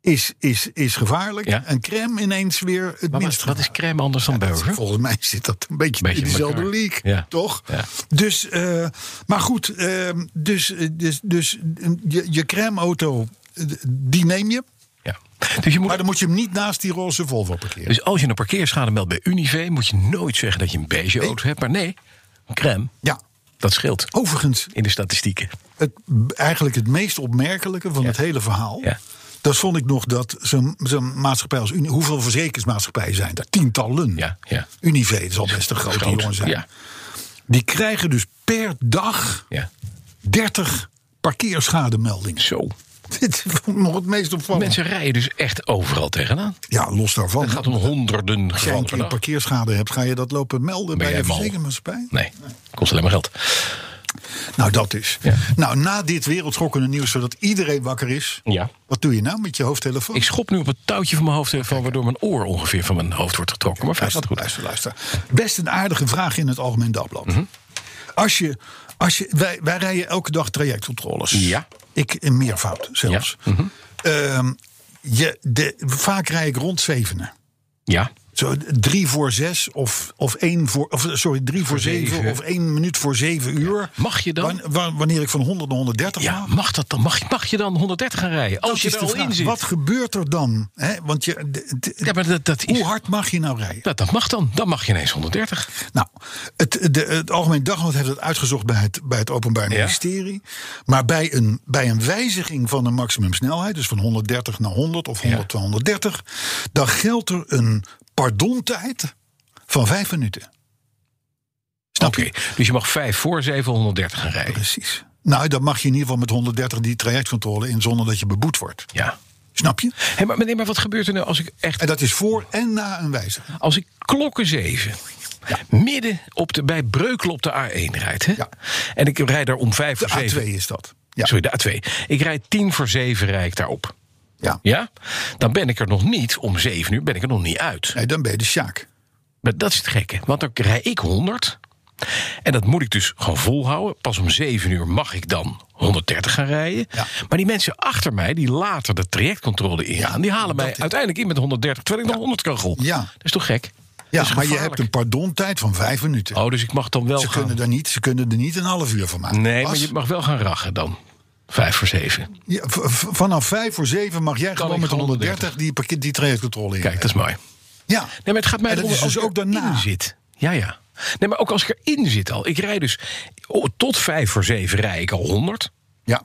B: is, is, is gevaarlijk.
C: Ja.
B: En crème ineens weer het
C: Maar
B: minst
C: wat, wat is crème anders dan burger?
B: Volgens mij zit dat een beetje,
C: Beetje
B: in dezelfde
C: elkaar.
B: league,
C: Ja.
B: toch?
C: Ja.
B: Dus, eh, maar goed, eh, dus, eh, dus, dus eh, je, je crème-auto, eh, die neem je.
C: Ja. Dus je moet
B: Maar dan moet je hem niet naast die roze Volvo parkeren.
C: Dus als je een parkeerschade meldt bij Unive, moet je nooit zeggen dat je een beige auto hebt. Maar nee, een crème,
B: Ja,
C: dat scheelt
B: overigens,
C: in de statistieken.
B: het, eigenlijk het meest opmerkelijke van het hele verhaal.
C: Ja.
B: Dat vond ik nog dat zo'n zo'n maatschappij als Unie... Hoeveel verzekeringsmaatschappijen zijn daar? Tientallen.
C: Ja, ja.
B: Unive, dat zal best een grote
C: Groot.
B: jongen zijn.
C: Ja,
B: Die krijgen dus per dag
C: ja.
B: 30 parkeerschademeldingen. [LAUGHS]
C: Zo.
B: Dit vond ik nog het meest opvallend.
C: Mensen rijden dus echt overal tegenaan.
B: Ja, los daarvan.
C: Het gaat om honderden
B: Als jij een
C: gevallen per
B: keer
C: dag.
B: parkeerschade hebt, ga je dat lopen melden bij
C: jij
B: je
C: mal?
B: verzekeringsmaatschappij?
C: Nee, kost alleen maar geld.
B: Nou, dat is.
C: Ja.
B: Nou, na dit wereldschokkende nieuws, zodat iedereen wakker is.
C: Ja.
B: Wat doe je nou met je hoofdtelefoon?
C: Ik schop nu op het touwtje van mijn hoofdtelefoon, waardoor mijn oor ongeveer van mijn hoofd wordt getrokken. Maar verder
B: luister,
C: gaat het goed.
B: luister, luister. Best een aardige vraag in het Algemeen Dagblad.
C: Mhm.
B: Als je, als je, wij, wij rijden elke dag trajectcontroles.
C: Ja. Mhm.
B: Ik in meervoud zelfs. Ehm, je, de, vaak rij ik rond zevenen.
C: Ja,
B: Zo, drie voor zes of, of één voor. Of, sorry, drie voor zeven,
C: zeven.
B: of één minuut voor zeven uur.
C: Mag je dan?
B: Wan- wa- wanneer ik van 100 naar 130
C: Ja,
B: mag.
C: mag, dat dan? Mag, mag je dan 130 gaan rijden? Als
B: Oh, Dat
C: je
B: is
C: er
B: de
C: al
B: vraag.
C: in zit.
B: Wat gebeurt er dan? Hè, want je, d- d-
C: ja, maar dat, dat, is,
B: hoe hard mag je nou rijden?
C: dat, dat mag dan. Dan mag je ineens 130.
B: Nou, het, de, het Algemeen Dagblad heeft het uitgezocht bij het, bij het Openbaar
C: Ja.
B: Ministerie. Maar bij een, bij een wijziging van de maximumsnelheid, dus van 130 naar 100 of 100 naar 130, dan geldt er een pardontijd van vijf minuten. Snap
C: Oké,
B: je?
C: dus je mag 5 voor 7 130 gaan rijden.
B: Precies. Nou, dan mag je in ieder geval met 130 die trajectcontrole in zonder dat je beboet wordt.
C: Ja.
B: Snap je?
C: Hé, maar, meneer, maar wat gebeurt er nou als ik echt
B: En dat is voor en na een wijziging.
C: Als ik klokken zeven midden op de, bij Breukelen op de A1 rijd... Hè?
B: Ja.
C: en ik rijd daar om vijf
B: De
C: voor
B: A2
C: zeven...
B: is dat. Ja.
C: Sorry, de A2. Ik rijd tien voor zeven rijd ik daarop.
B: ja.
C: Ja? Dan ben ik er nog niet, om zeven uur ben ik er nog niet uit.
B: Nee, dan ben je de Sjaak.
C: Maar dat is het gekke, want dan rijd ik 100... En dat moet ik dus gewoon volhouden. Pas om 7 uur mag ik dan 130 gaan rijden.
B: Ja.
C: Maar die mensen achter mij, die later de trajectcontrole ingaan... die halen mij uiteindelijk in met 130, terwijl ik nog 100 kan golven.
B: Ja.
C: Dat is toch gek?
B: Ja,
C: Dat is
B: maar je
C: gevaarlijk.
B: hebt een pardontijd van vijf minuten.
C: Oh, dus ik mag dan wel
B: Ze
C: gaan...
B: kunnen, daar niet, ze kunnen er niet een half uur van maken.
C: Nee,
B: Bas,
C: maar je mag wel gaan rachen dan. Vijf voor zeven.
B: je- v- v- vanaf vijf voor zeven mag jij gewoon
C: ik
B: met
C: gewoon
B: 130 die, parkeer- die trajectcontrole in.
C: Kijk, dat is mooi.
B: Ja,
C: Nee, maar het gaat mij
B: En dat
C: erom
B: is
C: als
B: dus
C: ik
B: ook daarna.
C: erin zit. Ja, ja. Nee, maar ook als ik erin zit al. Ik rij dus oh, tot vijf voor zeven rij ik al 100.
B: ja.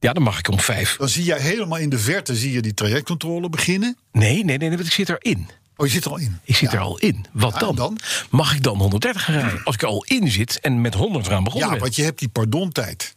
C: Ja, dan mag ik om vijf.
B: Dan zie jij helemaal in de verte zie je die trajectcontrole beginnen.
C: Nee, nee, nee, want ik zit erin.
B: Oh, je zit er al in.
C: Ik zit
B: Ja.
C: er al in. Wat
B: Ja,
C: dan?
B: en dan? Hmm.
C: Mag ik dan 130 gaan rijden? Als ik er al in zit en met 100 eraan begonnen
B: Ja,
C: ben.
B: want je hebt die pardontijd.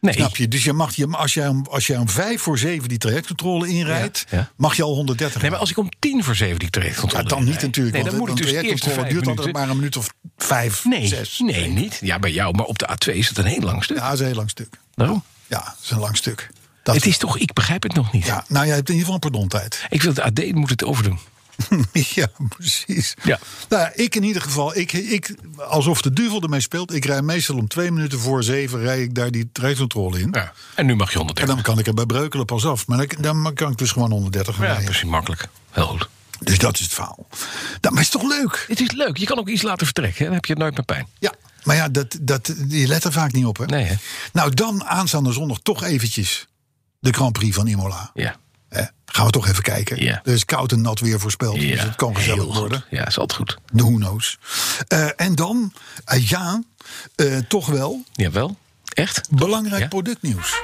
C: nee.
B: Snap je? Dus je mag, je, als, jij om, als jij om vijf voor zeven die trajectcontrole inrijdt,
C: Ja, ja.
B: mag je al 130
C: Nee, maar als ik om tien voor zeven die
B: Ja,
C: trajectcontrole
B: dan niet
C: rijd.
B: natuurlijk.
C: Nee,
B: want
C: dan moet ik
B: een
C: dus eerst de
B: trajectcontrole
C: vijf
B: duurt altijd
C: minuten-
B: maar een minuut of vijf,
C: Nee,
B: zes.
C: nee, niet. Ja, bij jou, maar op de A2 is dat een heel lang stuk.
B: Ja, dat is een heel lang stuk.
C: Daarom.
B: Ja, dat is een lang stuk. Dat,
C: het is toch, ik begrijp het nog niet.
B: ja, nou, jij hebt in ieder geval een pardontijd.
C: Ik wil het AD moet het overdoen.
B: [LAUGHS] ja, precies.
C: Ja.
B: Nou, ja, ik in ieder geval, ik, ik, alsof de duivel ermee speelt. Ik rij meestal om twee minuten voor zeven, rij ik daar die trajectcontrole in.
C: Ja. En nu mag je
B: En
C: 130.
B: dan kan ik er bij Breukelen pas af. Maar dan, dan kan ik dus gewoon 130 gaan
C: ja,
B: rijden.
C: precies, makkelijk. Heel goed.
B: Dus dat is het verhaal. Nou, maar is toch leuk?
C: Het is leuk. Je kan ook iets laten vertrekken. hè? Dan heb je het nooit meer pijn.
B: Ja, maar ja, dat, dat, je let er vaak niet op, hè?
C: Nee, hè?
B: Nou, dan aanstaande zondag toch eventjes de Grand Prix van Imola.
C: Ja.
B: Hè, gaan we toch even kijken.
C: Ja.
B: Er is koud en nat weer voorspeld,
C: ja.
B: dus het kan
C: Heel
B: gezellig
C: goed.
B: worden.
C: Ja, is altijd goed.
B: De who knows. Eh, en dan, eh, ja, eh, toch wel
C: Jawel. Echt?
B: belangrijk
C: Ja?
B: productnieuws.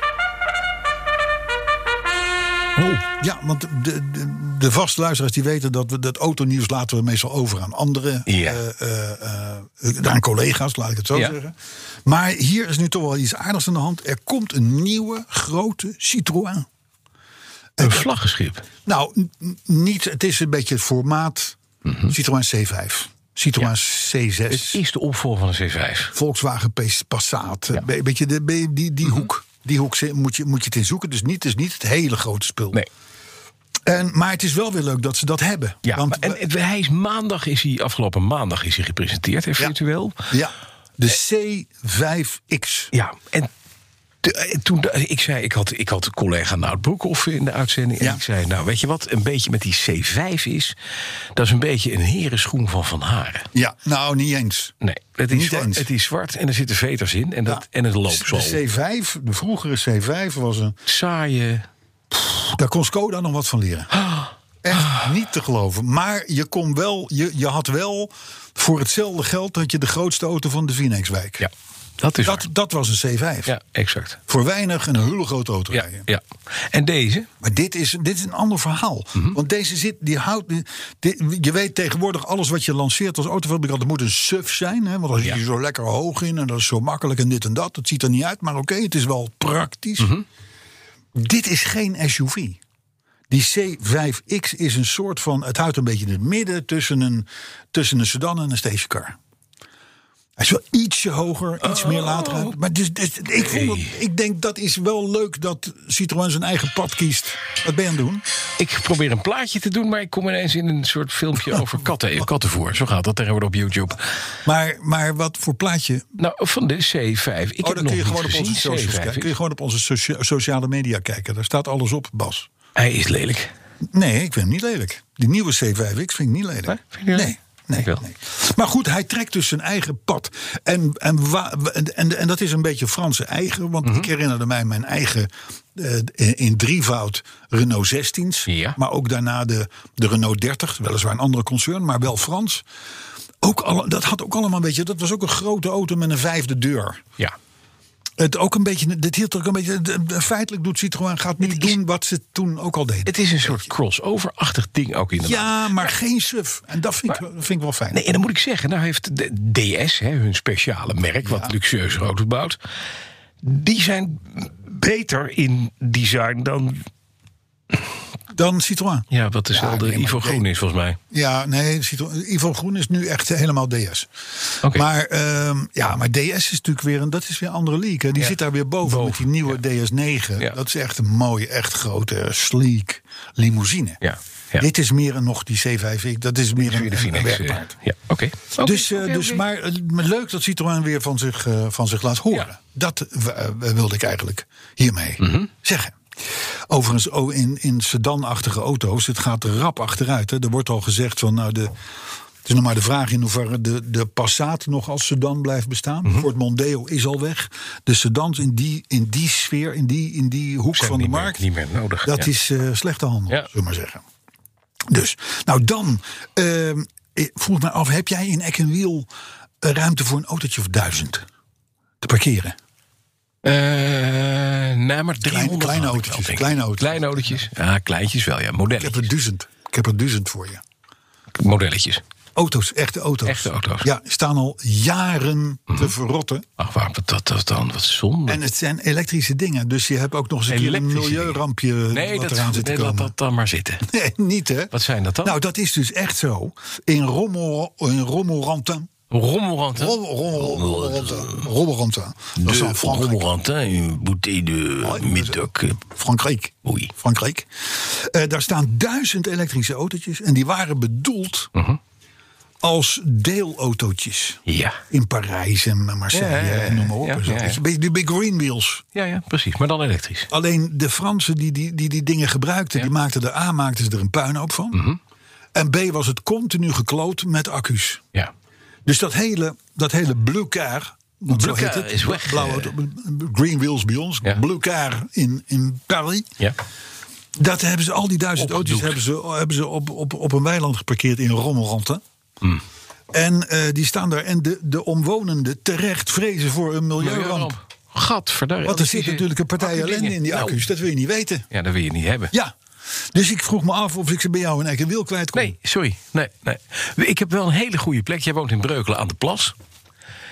C: Oh.
B: Ja, want de, de, de vaste luisteraars die weten dat we dat autonieuws laten we meestal over aan anderen.
C: Ja.
B: eh, eh, eh, aan collega's, laat ik het zo
C: Ja.
B: zeggen. Maar hier is nu toch wel iets aardigs aan de hand. Er komt een nieuwe grote Citroën.
C: Een vlaggenschip.
B: Nou, n- n- niet, het is een beetje het formaat Citroën C5. Citroën C6.
C: Mhm. Het is de opvolger van de C5.
B: Volkswagen P- Passat. Een be- beetje de, be- die,
C: Mhm.
B: die hoek. Die hoek zit- moet je, moet je het in zoeken. Dus niet, het is niet het hele grote spul.
C: Nee.
B: En, maar het is wel weer leuk dat ze dat hebben.
C: Ja,
B: Want
C: maar- en,
B: we-
C: het- hij is maandag, is hij, afgelopen maandag is hij gepresenteerd, hè, virtueel.
B: ja, de C5X.
C: Ja, en te- eh, toen da- ik zei, ik had, ik had een collega Nout Broekhoff in de uitzending. En
B: Ja.
C: ik zei, nou weet je wat, een beetje met die C5 is, dat is een beetje een herenschoen van Van Haren.
B: Ja, nou niet eens.
C: Nee, het is,
B: Niet
C: zwart,
B: eens.
C: het is zwart en er zitten veters in en, dat, en het loopt zo.
B: De C5, de vroegere C5 was een...
C: Saaie.
B: Daar kon Skoda nog wat van leren. Echt niet te geloven. Maar je, kon wel, je, je had wel voor hetzelfde geld... dat je de grootste auto van de Vinekswijk.
C: Ja, dat is
B: Dat,
C: waar.
B: dat was een C5.
C: Ja, exact.
B: Voor weinig een hele grote auto
C: Ja,
B: rijden.
C: ja. En deze?
B: Maar dit is, dit is een ander verhaal.
C: Mhm.
B: Want deze zit, die houdt. dit- je weet tegenwoordig, alles wat je lanceert als autofabrikant, dat moet een suf zijn. Hè? Want dan zit
C: Ja.
B: je zo lekker hoog in en dat is zo makkelijk en dit en dat. Het ziet er niet uit, maar oké, het is wel praktisch.
C: Mhm.
B: Dit is geen SUV. Die C5X is een soort van. Het houdt een beetje in het midden tussen een, tussen een sedan en een stationcar. Hij is wel ietsje hoger, iets
C: Oh.
B: meer laadruimte. Maar dus, dus- ik, vond het- ik denk dat is wel leuk dat Citroën zijn eigen pad kiest. Wat ben je aan het doen?
C: Ik probeer een plaatje te doen, maar ik kom ineens in een soort
B: Oh.
C: filmpje over katten, kattenvoer. Zo gaat dat tegenwoordig op YouTube.
B: Maar, maar wat voor plaatje?
C: Nou, van de C5. Ik
B: oh, dan
C: heb nog
B: kun je,
C: niet
B: gewoon op
C: gezien,
B: onze socials
C: C5.
B: kijken. kun je gewoon op onze socia- sociale media kijken. Daar staat alles op, Bas.
C: Hij is lelijk.
B: Nee, ik vind hem niet lelijk. Die nieuwe C5X vind ik niet lelijk.
C: Nee? Vind je niet
B: nee.
C: lelijk?
B: Nee,
C: Ik wel.
B: nee. Maar goed, hij trekt dus zijn eigen pad. En, en, wa- en, en, en dat is een beetje Franse eigen. Want
C: Mhm.
B: ik herinnerde mij mijn eigen eh, in drievoud Renault 16's.
C: Ja.
B: Maar ook daarna de, de Renault 30. Weliswaar een andere concern, maar wel Frans. Ook alle, dat had ook allemaal een beetje. Dat was ook een grote auto met een vijfde deur.
C: Ja.
B: Het ook een beetje, dit hield ook een beetje. de- de- Feitelijk doet Citroën gaat nu
C: is-
B: doen wat ze toen ook al deden.
C: Het is een soort crossover-achtig ding ook inderdaad.
B: Ja, maar geen suf. En dat vind, ik, vind ik wel fijn.
C: Nee, en dan moet ik zeggen, nou heeft de DS, hè, hun speciale merk, wat luxueus rood bouwt, die zijn beter in design dan.
B: Dan Citroën.
C: Ja, wat dezelfde
B: nee, maar
C: Ivo
B: ik
C: Groen is volgens mij.
B: Ja, nee, Citroën. Ivo Groen is nu echt helemaal DS.
C: Oké.
B: Maar, ehm, ja, maar DS is natuurlijk weer een, dat is weer een andere league. Hè. Die
C: Ja.
B: zit daar weer boven, met die nieuwe DS9.
C: Ja.
B: Dat is echt een mooie, echt grote, sleek limousine.
C: Ja, ja.
B: Dit is meer een, nog die C5. Dat is meer
C: Weer de
B: een, een
C: Phoenix. eh,
B: werkpaard.
C: Ja, oké. Oké,
B: Dus, eh,
C: oké,
B: dus,
C: oké.
B: Maar eh, maar leuk dat Citroën weer van zich, eh, van zich laat horen.
C: Ja.
B: Dat eh, wilde ik eigenlijk hiermee
C: Mhm.
B: zeggen. Overigens, oh, in, in sedanachtige auto's, het gaat rap achteruit. Hè. Er wordt al gezegd van, nou, de, het is nog maar de vraag in hoeverre de, de Passat nog als sedan blijft bestaan.
C: Mhm.
B: Ford Mondeo is al weg. De sedans in die, in die sfeer, in die, in die hoek
C: Zijn
B: van de
C: niet meer-
B: markt,
C: niet meer nodig,
B: dat
C: ja.
B: is eh, slechte handel,
C: Ja.
B: zullen we maar zeggen. Dus, nou dan, ehm, ik vroeg me af, heb jij in Eck en Wiel eh, ruimte voor een autootje of duizend te parkeren?
C: Eh, nou, maar 300
B: kleine
C: had ik wel,
B: autootjes,
C: denk ik.
B: kleine autootjes.
C: Kleine autootjes. Ja, kleintjes wel, ja.
B: Ik heb
C: Modelletjes.
B: er duizend. Ik heb er duizend voor je.
C: Modelletjes.
B: Auto's, echte auto's.
C: Echte auto's. Mhm.
B: Ja, staan al jaren te verrotten.
C: Ach, waarom dat, dat, dat dan? Wat zonde.
B: En het zijn elektrische dingen. Dus je hebt ook nog eens een keer een
C: Elektrische dingen.
B: milieurampje
C: nee,
B: eh, wat
C: dat,
B: eraan zit te
C: nee
B: komen.
C: laat dat dan maar zitten.
B: [LAUGHS] Nee, niet hè.
C: Wat zijn dat dan?
B: Nou, dat is dus echt zo. In Rommel, in Rommelrantin.
C: Rommelranten.
B: Rommel- Rommelrantin. Rommelrantin. Dat is
C: De
B: dan Frankrijk.
C: Rommelranten, une bouteille de eh, middag.
B: Frankrijk.
C: Oei.
B: Frankrijk. Eh, daar staan duizend elektrische autootjes. En die waren bedoeld
C: Mhm.
B: als deelautootjes.
C: Ja.
B: In Parijs en Marseille
C: Ja, ja, ja.
B: en noem maar op.
C: Ja,
B: en zo.
C: ja, ja.
B: Dus een beetje De big green wheels.
C: ja, ja, precies. Maar dan elektrisch.
B: Alleen de Fransen die die, die, die dingen gebruikten, die maakten er A, maakten ze er een puinhoop van.
C: Mhm.
B: En B was het continu gekloot met accu's.
C: Ja.
B: Dus dat hele, dat hele blue car. want zo
C: Blue car
B: heet het,
C: is weg,
B: blauwe
C: eh.
B: auto, green wheels bij ons.
C: Ja.
B: Blue car in, in Paris.
C: ja.
B: Dat hebben ze, al die duizend
C: Opgedoekt.
B: auto's hebben ze, hebben ze op, op, op een weiland geparkeerd in Rommelranten.
C: Mm.
B: En eh, die staan daar. En de, de omwonenden terecht vrezen voor een milieuramp.
C: Gadverdamme.
B: Want er zit natuurlijk een partij ellende in die
C: Nou,
B: accu's. Dat wil je niet weten.
C: Ja, dat wil je niet hebben.
B: Ja. Dus ik vroeg me af of ik ze bij jou in eigen wiel kwijt kon.
C: Nee, sorry. Nee, nee. Ik heb wel een hele goede plek. Jij woont in Breukelen aan de plas.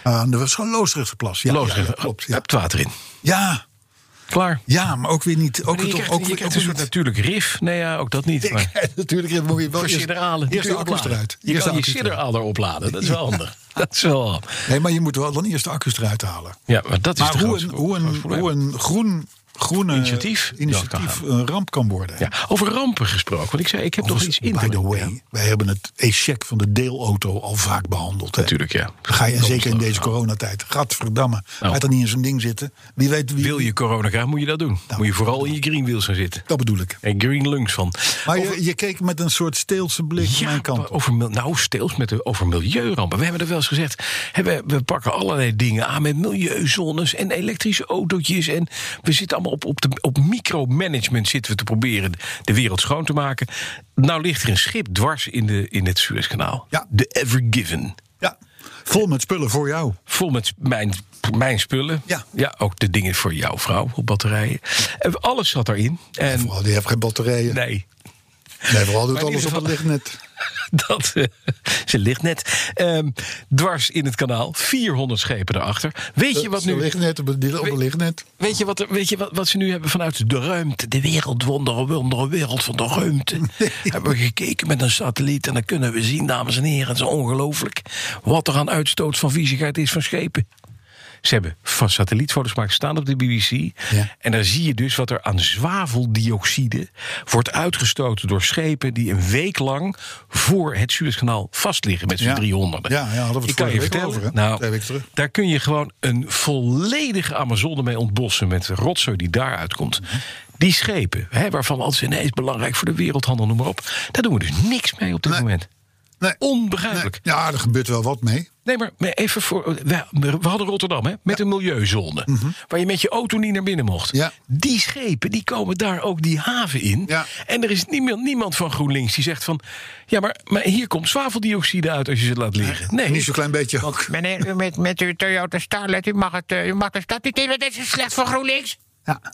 B: Aan de Loosdrechtsplas. Ja,
C: Loos,
B: ja, ja, klopt. Ja.
C: Het water in.
B: ja,
C: Klaar.
B: ja, maar ook weer niet. Ook,
C: En je
B: toch,
C: krijgt,
B: ook,
C: je
B: weer-
C: krijgt
B: ook
C: een
B: weer
C: soort
B: niet-
C: natuurlijk rif. Nee, ja, ook dat niet. Maar [LAUGHS]
B: Ik- natuurlijk, dan moet je wel
C: voor
B: eerst,
C: sideralen. die
B: eerst de
C: kun je
B: accu's
C: opladen.
B: eruit.
C: Je
B: Eerst de
C: kan je
B: accu's eruit.
C: sideralen opladen. Dat is wel [LAUGHS] handig. Dat is wel handig.
B: Nee, maar je moet wel dan eerst de accu's eruit halen.
C: Ja, maar dat is
B: Maar
C: de
B: hoe
C: grootste-
B: een, hoe een,
C: grootste probleem.
B: hoe een groen, groene
C: Initiatief dat kan
B: initiatief een ramp kan worden.
C: Ja, over rampen gesproken. Want ik zei, ik heb nog iets in.
B: By
C: te
B: the way,
C: brengen. Ja,
B: wij hebben het echec van de deelauto al vaak behandeld. Hè?
C: Natuurlijk, ja.
B: Ga je, en
C: Komt
B: zeker in
C: zo.
B: deze
C: Nou,
B: coronatijd. Gadverdamme.
C: Nou.
B: Ga je dan niet in zo'n ding zitten? Wie weet wie...
C: Wil je corona krijgen, moet je dat doen. moet je vooral in je green wheels gaan zitten.
B: Dat bedoel ik.
C: En green lungs van.
B: Maar
C: Over-
B: je, je keek met een soort steelse blik mijn kant op.
C: over, mil- nou, steels met de, over milieurampen. We hebben er wel eens gezegd, hè, we, we pakken allerlei dingen aan met milieuzones en elektrische autootjes. En we zitten allemaal op, op, de, op micromanagement zitten we te proberen de wereld schoon te maken. Nou ligt er een schip dwars in, de, in het Suezkanaal.
B: Ja.
C: De Ever Given.
B: Ja, vol met spullen voor jou.
C: Vol met mijn, mijn spullen.
B: Ja.
C: ja. Ook de dingen voor jouw vrouw op batterijen. En Alles zat daarin. En
B: Vooral die heeft geen batterijen. Nee,
C: nee,
B: vooral doet
C: Maar in
B: alles op
C: ieder eh,
B: het lichtnet.
C: [LAUGHS] dat, eh, ze ligt net. Ehm, dwars in het kanaal. 400 schepen erachter. Weet je wat
B: Zo'n
C: nu?
B: lichtnet op het op het lichtnet.
C: Weet je, wat, er- weet je wat, wat ze nu hebben vanuit de ruimte? De wereldwonderen, wonderen, wereld van de ruimte. Hebben we gekeken met een satelliet. En dan kunnen we zien, dames en heren, het is ongelooflijk. Wat er aan uitstoot van viezigheid is van schepen. Ze hebben van satellietfoto's gemaakt, staan op de BBC.
B: Ja.
C: En daar zie je dus wat er aan zwaveldioxide wordt uitgestoten door schepen die een week lang voor het Suezkanaal vastliggen met z'n
B: Ja.
C: 300.
B: Ja, ja, hadden we het
C: Ik kan
B: vorige
C: je
B: week
C: vertellen,
B: over, hè? Twee
C: Nou,
B: weken terug.
C: daar kun je gewoon een volledige Amazone mee ontbossen met de rotzooi die daaruit komt. Die schepen, hè, waarvan alles ineens belangrijk voor de wereldhandel, noem maar op. Daar doen we dus niks mee op dit
B: Nee.
C: moment.
B: Nee.
C: Onbegrijpelijk.
B: Nee. Ja, er gebeurt wel wat mee.
C: Nee, maar maar even voor. We, we hadden Rotterdam, hè? Met een milieuzone. Waar je met je auto niet naar binnen mocht.
B: Mhm. Ja.
C: Die schepen die komen daar ook die haven in.
B: Ja.
C: En er is niemand, niemand van GroenLinks die zegt van. Ja, maar, maar hier komt zwaveldioxide uit als je ze laat liggen. Nee,
B: Niet zo'n klein beetje ook.
D: Meneer, u met, met uw Toyota Starlet, u mag, het, eh, u mag de stad niet in, want dit is slecht voor GroenLinks.
B: Ja.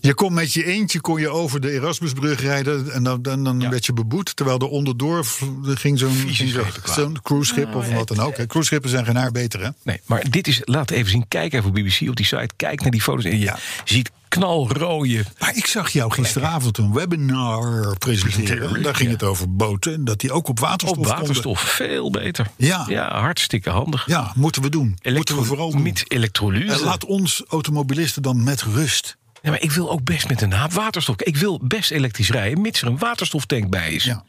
B: Je kon met je eentje kon je over de Erasmusbrug rijden en dan, dan, dan werd je beboet. Terwijl er onderdoor v- ging zo'n
C: Vieze
B: ging zo-
C: schepen kwamen. Ah,
B: zo'n cruiseschip of wat dan ook. hè. Cruiseschepen zijn geen haar beter, hè?
C: Nee, maar dit is, laat even zien, kijk even op BBC op die site, kijk naar die foto's en je
B: Ja.
C: ziet knalrooie.
B: Maar ik zag jou gisteravond een webinar presenteren. Daar ging het over boten en dat die ook op waterstof
C: Op
B: konden.
C: waterstof, veel beter.
B: Ja.
C: ja hartstikke handig.
B: Ja, moeten we doen. moeten we
C: Elektro-
B: vooral doen.
C: Met elektrolyse.
B: En laat ons automobilisten dan met rust.
C: Ja, maar ik wil ook best met een haap waterstof. Ik wil best elektrisch rijden, mits er een waterstoftank bij is.
B: Ja.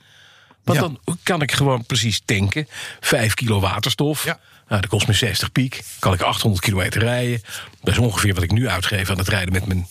C: Want
B: Ja.
C: dan kan ik gewoon precies tanken. Vijf kilo waterstof.
B: Ja.
C: Nou, dat kost me 60 piek. Kan ik 800 kilometer rijden. Dat is ongeveer wat ik nu uitgeef aan het rijden met mijn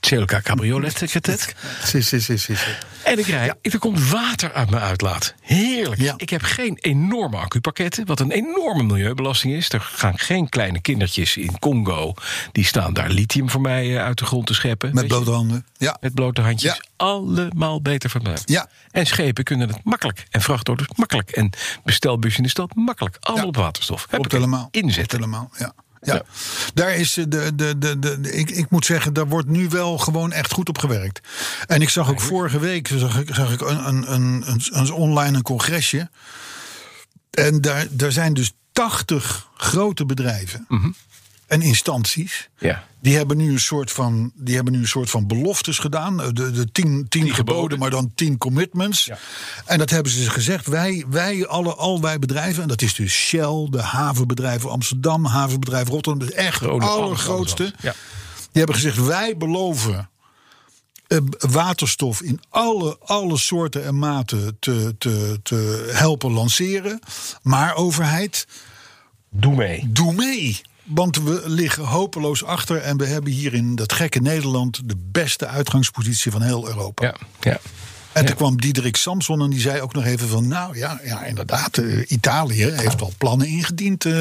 C: CLK cabriolet. kadet.
B: Si, si, si, si, si.
C: En ik rijd, er komt water uit mijn uitlaat. Heerlijk.
B: Ja.
C: Ik heb geen enorme accupakketten, wat een enorme milieubelasting is. Er gaan geen kleine kindertjes in Congo, die staan daar lithium voor mij eh, uit de grond te scheppen.
B: Met
C: Weet je?
B: blote handen. Ja.
C: Met blote handjes.
B: Ja.
C: Allemaal beter verbruikt.
B: Ja.
C: En schepen kunnen het makkelijk. En vrachtauto's makkelijk. En bestelbus in de stad makkelijk. Allemaal
B: Ja.
C: op waterstof. Heb
B: Klopt helemaal.
C: Inzetten.
B: Klopt helemaal, ja. Ja.
C: Ja.
B: daar is eh, de, de, de, de, de- ik, ik moet zeggen, daar wordt nu wel gewoon echt goed op gewerkt. En ik zag ook vorige week zag ik, zag ik een, een, een, een, een online een congresje. En daar, daar zijn dus 80 grote bedrijven
C: Mhm.
B: en instanties.
C: Ja.
B: Die hebben nu een soort van, die hebben nu een soort van beloftes gedaan. Eh, De, de tien, tien geboden,
C: geboden.
B: maar dan tien commitments. En dat hebben ze dus gezegd. Wij, wij alle, al wij bedrijven, en dat is dus Shell, de havenbedrijven Amsterdam, havenbedrijf Rotterdam, de echt
C: Groningen,
B: allergrootste.
C: alles, alles.
B: Die hebben gezegd: wij beloven eh, waterstof in alle, alle soorten en maten te, te, te helpen lanceren. Maar overheid,
C: Doe mee.
B: doe mee. Want we liggen hopeloos achter en we hebben hier in dat gekke Nederland de beste uitgangspositie van heel Europa.
C: Ja. ja.
B: En
C: Ja.
B: toen kwam Diederik Samson en die zei ook nog even van... nou ja, ja inderdaad, eh, Italië heeft al plannen ingediend eh,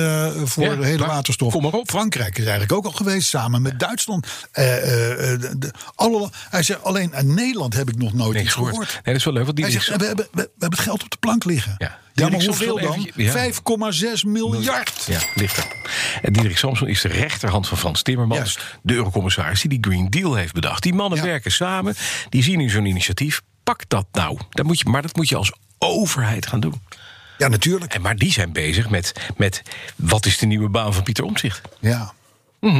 B: voor
C: Ja,
B: de hele
C: maar
B: waterstof.
C: kom maar op.
B: Frankrijk is eigenlijk ook al geweest, samen met Duitsland. Eh, eh, eh, de- de- alle, hij zei, alleen aan Nederland heb ik nog nooit
C: Niks
B: iets
C: gehoord.
B: gehoord.
C: Nee, dat is wel leuk. Want die
B: Hij zegt,
C: niks-
B: we hebben, we, we hebben het geld op de plank liggen.
C: Ja.
B: Ja, maar
C: Diederik Samson
B: hoeveel dan?
C: eventjes- ja.
B: 5,6 miljard.
C: Ja, ligt er. En Diederik Samson is de rechterhand van Frans Timmermans,
B: Juist.
C: de eurocommissaris die die Green Deal heeft bedacht. Die mannen
B: Ja.
C: werken samen, die zien nu zo'n initiatief. Pak dat nou. Dat moet je, maar dat moet je als overheid gaan doen.
B: Ja, natuurlijk.
C: En maar die zijn bezig met, met wat is de nieuwe baan van Pieter Omtzigt.
B: Ja.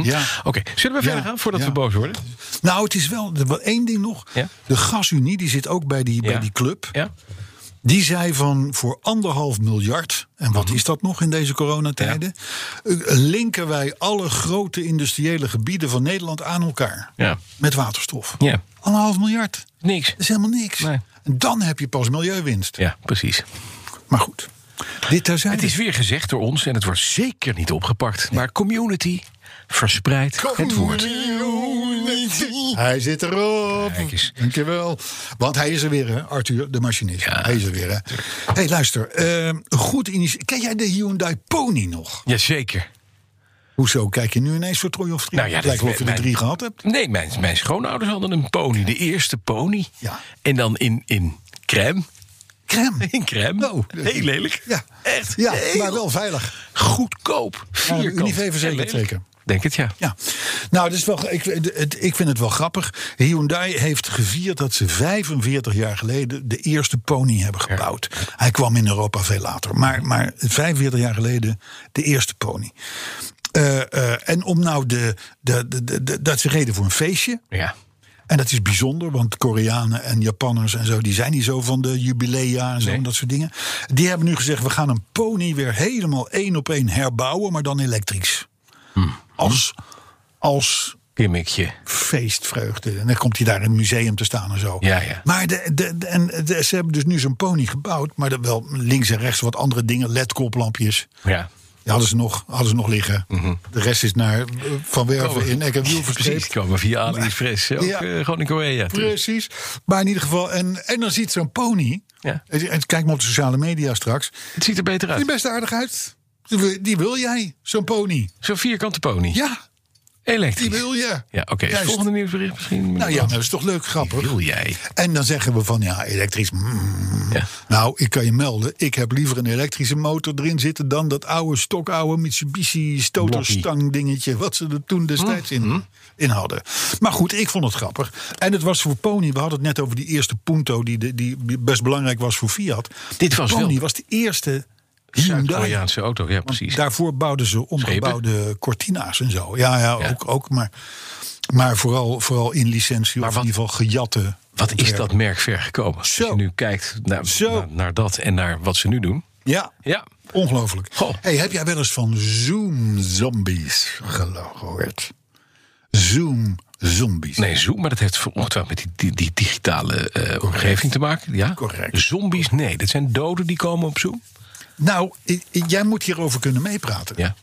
B: ja.
C: Oké, zullen we
B: Ja,
C: verder gaan voordat
B: ja.
C: we boos worden?
B: Nou, het is wel, er wel één ding nog.
C: Ja?
B: De Gasunie, die zit ook bij die, bij
C: Ja.
B: die club.
C: Ja?
B: Die zei van voor anderhalf miljard, en wat
C: Mhm.
B: is dat nog in deze coronatijden, eh, linken wij alle grote industriële gebieden van Nederland aan elkaar.
C: Ja.
B: Met waterstof.
C: Ja.
B: Anderhalf miljard.
C: Niks.
B: Dat is helemaal niks.
C: Nee.
B: En dan heb je pas milieuwinst.
C: Ja, precies.
B: Maar goed, dit terzijde.
C: Het is weer gezegd door ons en het wordt zeker niet opgepakt. Maar community verspreidt het woord.
B: Hij zit erop.
C: Kijk eens.
B: Dankjewel. Want hij is er weer, hè? Arthur, de machinist.
C: Ja.
B: Hij is er weer, hè? hey, luister. ehm, goed initiatief. Ken jij de Hyundai Pony nog?
C: Jazeker.
B: Hoezo? Kijk je nu ineens voor Troy of Drie?
C: Nou ja, dat
B: Lijkt wel
C: is
B: of je
C: mijn-
B: er drie gehad hebt.
C: Nee, mijn, mijn schoonouders hadden een pony. De eerste pony.
B: Ja.
C: En dan in, in crème. [LAUGHS]
B: Crème.
C: In crème.
B: Nou, dat-
C: Heel lelijk.
B: Ja.
C: Echt.
B: Ja,
C: heel
B: maar wel veilig.
C: Goedkoop. Vierkant.
B: Unilever
C: En
B: zeker,
C: lelijk.
B: zeker.
C: Denk het, ja.
B: Ja, nou, dat is wel, ik, het- ik vind het wel grappig. Hyundai heeft gevierd dat ze 45 jaar geleden de eerste pony hebben gebouwd. Hij kwam in Europa veel later, maar, maar 45 jaar geleden de eerste pony. Eh, eh, en om nou de, de, de, de- de- dat ze reden voor een feestje.
C: Ja.
B: En dat is bijzonder, want Koreanen en Japanners en zo, die zijn niet zo van de jubilea en zo,
C: Nee.
B: en dat soort dingen. Die
C: Hm.
B: hebben nu gezegd: we gaan een pony weer helemaal één op één herbouwen, maar dan elektrisch. Als, als
C: Gimmickje.
B: feestvreugde. En dan komt hij daar in het museum te staan en zo.
C: Ja, ja.
B: Maar de, de, de- en de- ze hebben dus nu zo'n pony gebouwd. Maar dan wel links en rechts wat andere dingen. LED-koplampjes.
C: Ja.
B: Die hadden ze nog, hadden ze nog liggen. De rest is naar eh, Van Werven
C: Komen.
B: in Eck en Wiel
C: Mhm. Oh. [LAUGHS] Precies,
B: verscheept.
C: kwamen via AliExpress. Ook
B: Ja.
C: eh, gewoon in Korea. terug.
B: Precies. Maar in ieder geval, en, en dan ziet zo'n pony.
C: Ja.
B: En, en kijk maar op de sociale media straks.
C: Het ziet er beter
B: Die
C: uit.
B: best aardig uit. Die wil- Die wil jij, zo'n pony.
C: Zo'n vierkante pony.
B: Ja,
C: Elektrisch.
B: die wil je.
C: Ja, oké. is het
B: Juist.
C: Volgende nieuwsbericht misschien.
B: Nou ja, dat is toch leuk, grappig.
C: Wil jij?
B: En dan zeggen we van ja, elektrisch. mm.
C: Ja.
B: Nou, ik kan je melden, ik heb liever een elektrische motor erin zitten dan dat oude, stokoude Mitsubishi stoterstang dingetje. Wat ze er toen destijds
C: Hm,
B: in, in hadden. Maar goed, ik vond het grappig. En het was voor Pony, we hadden het net over die eerste Punto die, de, die best belangrijk was voor Fiat.
C: Dit was
B: Pony
C: wel-
B: was de eerste Hyundai.
C: Zuid-Koreaanse auto, ja, precies.
B: Daarvoor bouwden ze omgebouwde cortina's en zo. Ja, ja,
C: Ja.
B: Ook, ook. Maar, maar vooral, vooral in licentie
C: Maar
B: of
C: wat-
B: in ieder geval gejatte.
C: Wat is
B: ontwerpen.
C: dat merk ver gekomen?
B: Zo.
C: Als je nu kijkt naar,
B: Zo.
C: naar, naar dat en naar wat ze nu doen.
B: Ja,
C: Ja.
B: ongelooflijk.
C: Goh.
B: Hey, heb jij wel eens van Zoom Zombies gelo- gehoord? Zoom Zombies.
C: Nee, Zoom, maar dat heeft voor- ongetwijfeld met die, die, die digitale eh, omgeving te maken. Ja?
B: Correct.
C: Zombies, nee. Dat zijn doden die komen op Zoom.
B: Nou, i- i- jij moet hierover kunnen meepraten.
C: Ja.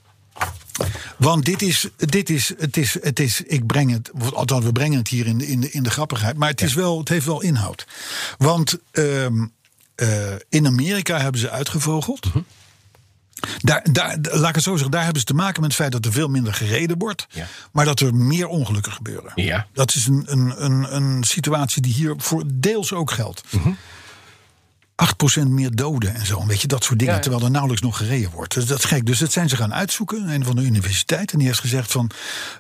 B: Want dit is, dit is, het is, het is, ik breng het, of althans we brengen het hier in de, in de, in de grappigheid, maar het, is wel, het heeft wel inhoud. Want ehm, eh, in Amerika hebben ze uitgevogeld.
C: Mhm.
B: Daar, daar, laat ik het zo zeggen, daar hebben ze te maken met het feit dat er veel minder gereden wordt.
C: Ja.
B: Maar dat er meer ongelukken gebeuren.
C: Ja.
B: Dat is een, een, een, een situatie die hier voor deels ook geldt.
C: Mhm.
B: 8% meer doden en zo. Weet je, dat soort dingen.
C: Ja, ja.
B: Terwijl er nauwelijks nog gereden wordt. Dus dat is gek. Dus dat zijn ze gaan uitzoeken. Een van de universiteit. En die heeft gezegd van...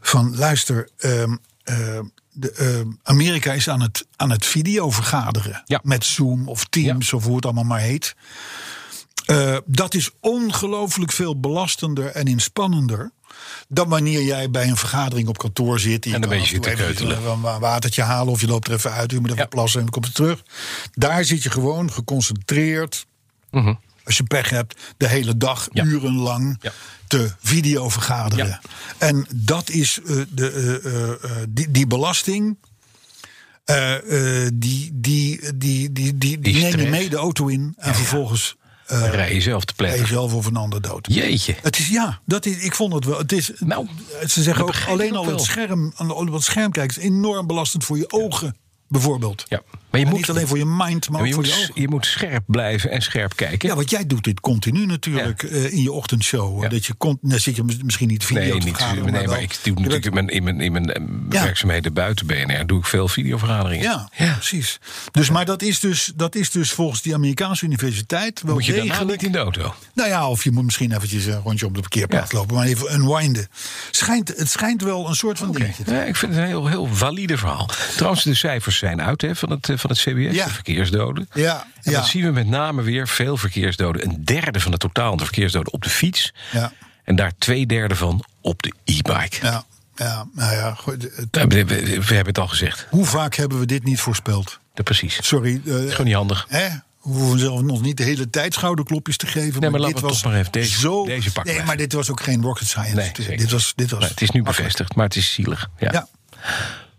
B: van luister, ehm, ehm, de, ehm, Amerika is aan het, aan het video vergaderen.
C: Ja.
B: Met Zoom of Teams of hoe het allemaal maar heet. Eh, dat is ongelooflijk veel belastender en inspannender. Dan wanneer jij bij een vergadering op kantoor zit.
C: En
B: je
C: een
B: kan
C: beetje
B: af en toe
C: zit te
B: even
C: keutelen.
B: een wa- watertje halen of je loopt er even uit. Je moet even
C: Ja.
B: plassen en dan komt het terug. Daar zit je gewoon geconcentreerd. Als je pech hebt, de hele dag,
C: Ja.
B: urenlang
C: Ja.
B: te video vergaderen.
C: Ja.
B: En dat is eh, de, eh, eh, eh, die, die belasting. eh, eh, die, die, die, die, die, die neem je
C: stress.
B: mee de auto in. En vervolgens eh,
C: Rij jezelf te
B: ben je
C: pletten.
B: zelf of een ander dood.
C: Jeetje.
B: Het is ja, dat is, ik vond het wel. Het is,
C: Nou,
B: ze zeggen ook
C: begrijp ik
B: alleen
C: ook
B: al het
C: wel.
B: scherm, aan de- op het scherm kijken is enorm belastend voor je ogen, bijvoorbeeld.
C: Ja. Maar je
B: En
C: moet-
B: niet alleen voor je mind, maar
C: Ja,
B: ook
C: maar je,
B: voor je
C: moet,
B: ogen.
C: je moet scherp blijven en scherp kijken.
B: Ja, want jij doet dit continu natuurlijk eh, in je ochtendshow. eh,
C: Ja.
B: Dat je kon, dan zit je misschien niet video
C: Nee,
B: te
C: niet,
B: vergaderen,
C: nee,
B: maar,
C: maar,
B: wel-
C: ik doe natuurlijk in mijn, in mijn, in mijn eh,
B: Ja.
C: werkzaamheden buiten BNR doe ik veel videovergaderingen.
B: Ja, precies. Dus, maar dat is, dus, dat is dus volgens die Amerikaanse universiteit wel
C: Moet je daarna
B: degelijk
C: niet in de auto?
B: Nou ja, of je moet misschien eventjes een rondje op de parkeerplaats
C: Ja.
B: lopen, maar even unwinden. Schijnt, het schijnt wel een soort van
C: Oké.
B: dingetje. te-
C: Ja, ik vind het een heel, heel valide verhaal. Trouwens, de cijfers zijn uit hè, van, het, eh, van het CBS,
B: Ja.
C: de verkeersdoden.
B: Ja,
C: En
B: ja.
C: dat zien we met name weer, veel verkeersdoden. Een derde van het totaal aan de verkeersdoden op de fiets.
B: Ja.
C: En daar twee derde van op de e-bike.
B: Ja, ja, nou ja, goed, het-
C: Nou, We, we- we hebben het al gezegd.
B: hoe vaak hebben we dit niet voorspeld?
C: Dat precies. Het
B: Sorry. eh,
C: is gewoon niet handig.
B: hè? We hoeven zelf nog niet de hele tijd schouderklopjes te geven.
C: Nee, maar
B: dit
C: laten we
B: was
C: toch maar even deze-
B: zo...
C: deze pakken
B: Nee,
C: we
B: maar dit was ook geen rocket science.
C: Nee,
B: Dit-
C: zeker.
B: dit was, dit was
C: Maar het is nu
B: makkelijk.
C: bevestigd, maar het is zielig. Ja.
B: Ja.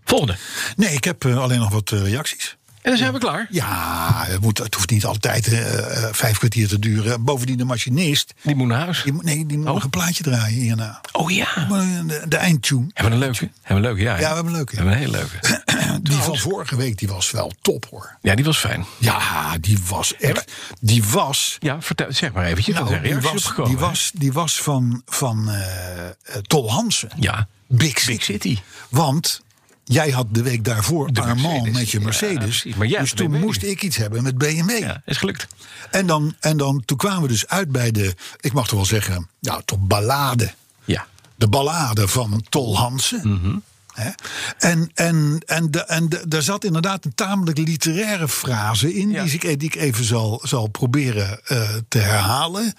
C: Volgende.
B: Nee, ik heb eh, alleen nog wat eh, reacties.
C: En dan zijn we klaar.
B: Ja, het, moet, het hoeft niet altijd eh, eh, vijf kwartier te duren. Bovendien de machinist.
C: Die moet naar huis.
B: Die, moet- nee, die moet nog een plaatje draaien hierna.
C: Oh ja.
B: Maar eh, De, de eindtune.
C: Hebben we een leuke? Hebben we een leuke? Ja,
B: Ja, we hebben een leuke.
C: We hebben een hele leuke.
B: eh, Die
C: Oh.
B: van vorige week die was wel top hoor.
C: Ja, die was fijn.
B: Ja, die was echt. Die was.
C: Ja, vertel, zeg maar eventjes. wat
B: Nou,
C: zijn
B: die
C: reacties
B: was,
C: opgekomen,
B: die
C: hè?
B: was, die was van, van eh, eh, Tol Hansen.
C: Ja.
B: Big City.
C: City.
B: Want jij had de week daarvoor
C: De
B: Armand
C: Mercedes.
B: met je
C: Ja,
B: Mercedes.
C: precies. Maar jij
B: dus
C: had de
B: toen
C: BMW.
B: moest ik iets hebben met BMW.
C: Ja, is gelukt.
B: En, dan, en dan, toen kwamen we dus uit bij de, ik mag toch wel zeggen, nou, toch ballade.
C: Ja.
B: De ballade van Tol Hansen.
C: Mhm.
B: Hè? En, en, en, de, en de- daar zat inderdaad een tamelijk literaire frase in,
C: Ja.
B: die, ik, die ik even zal, zal proberen eh, te herhalen.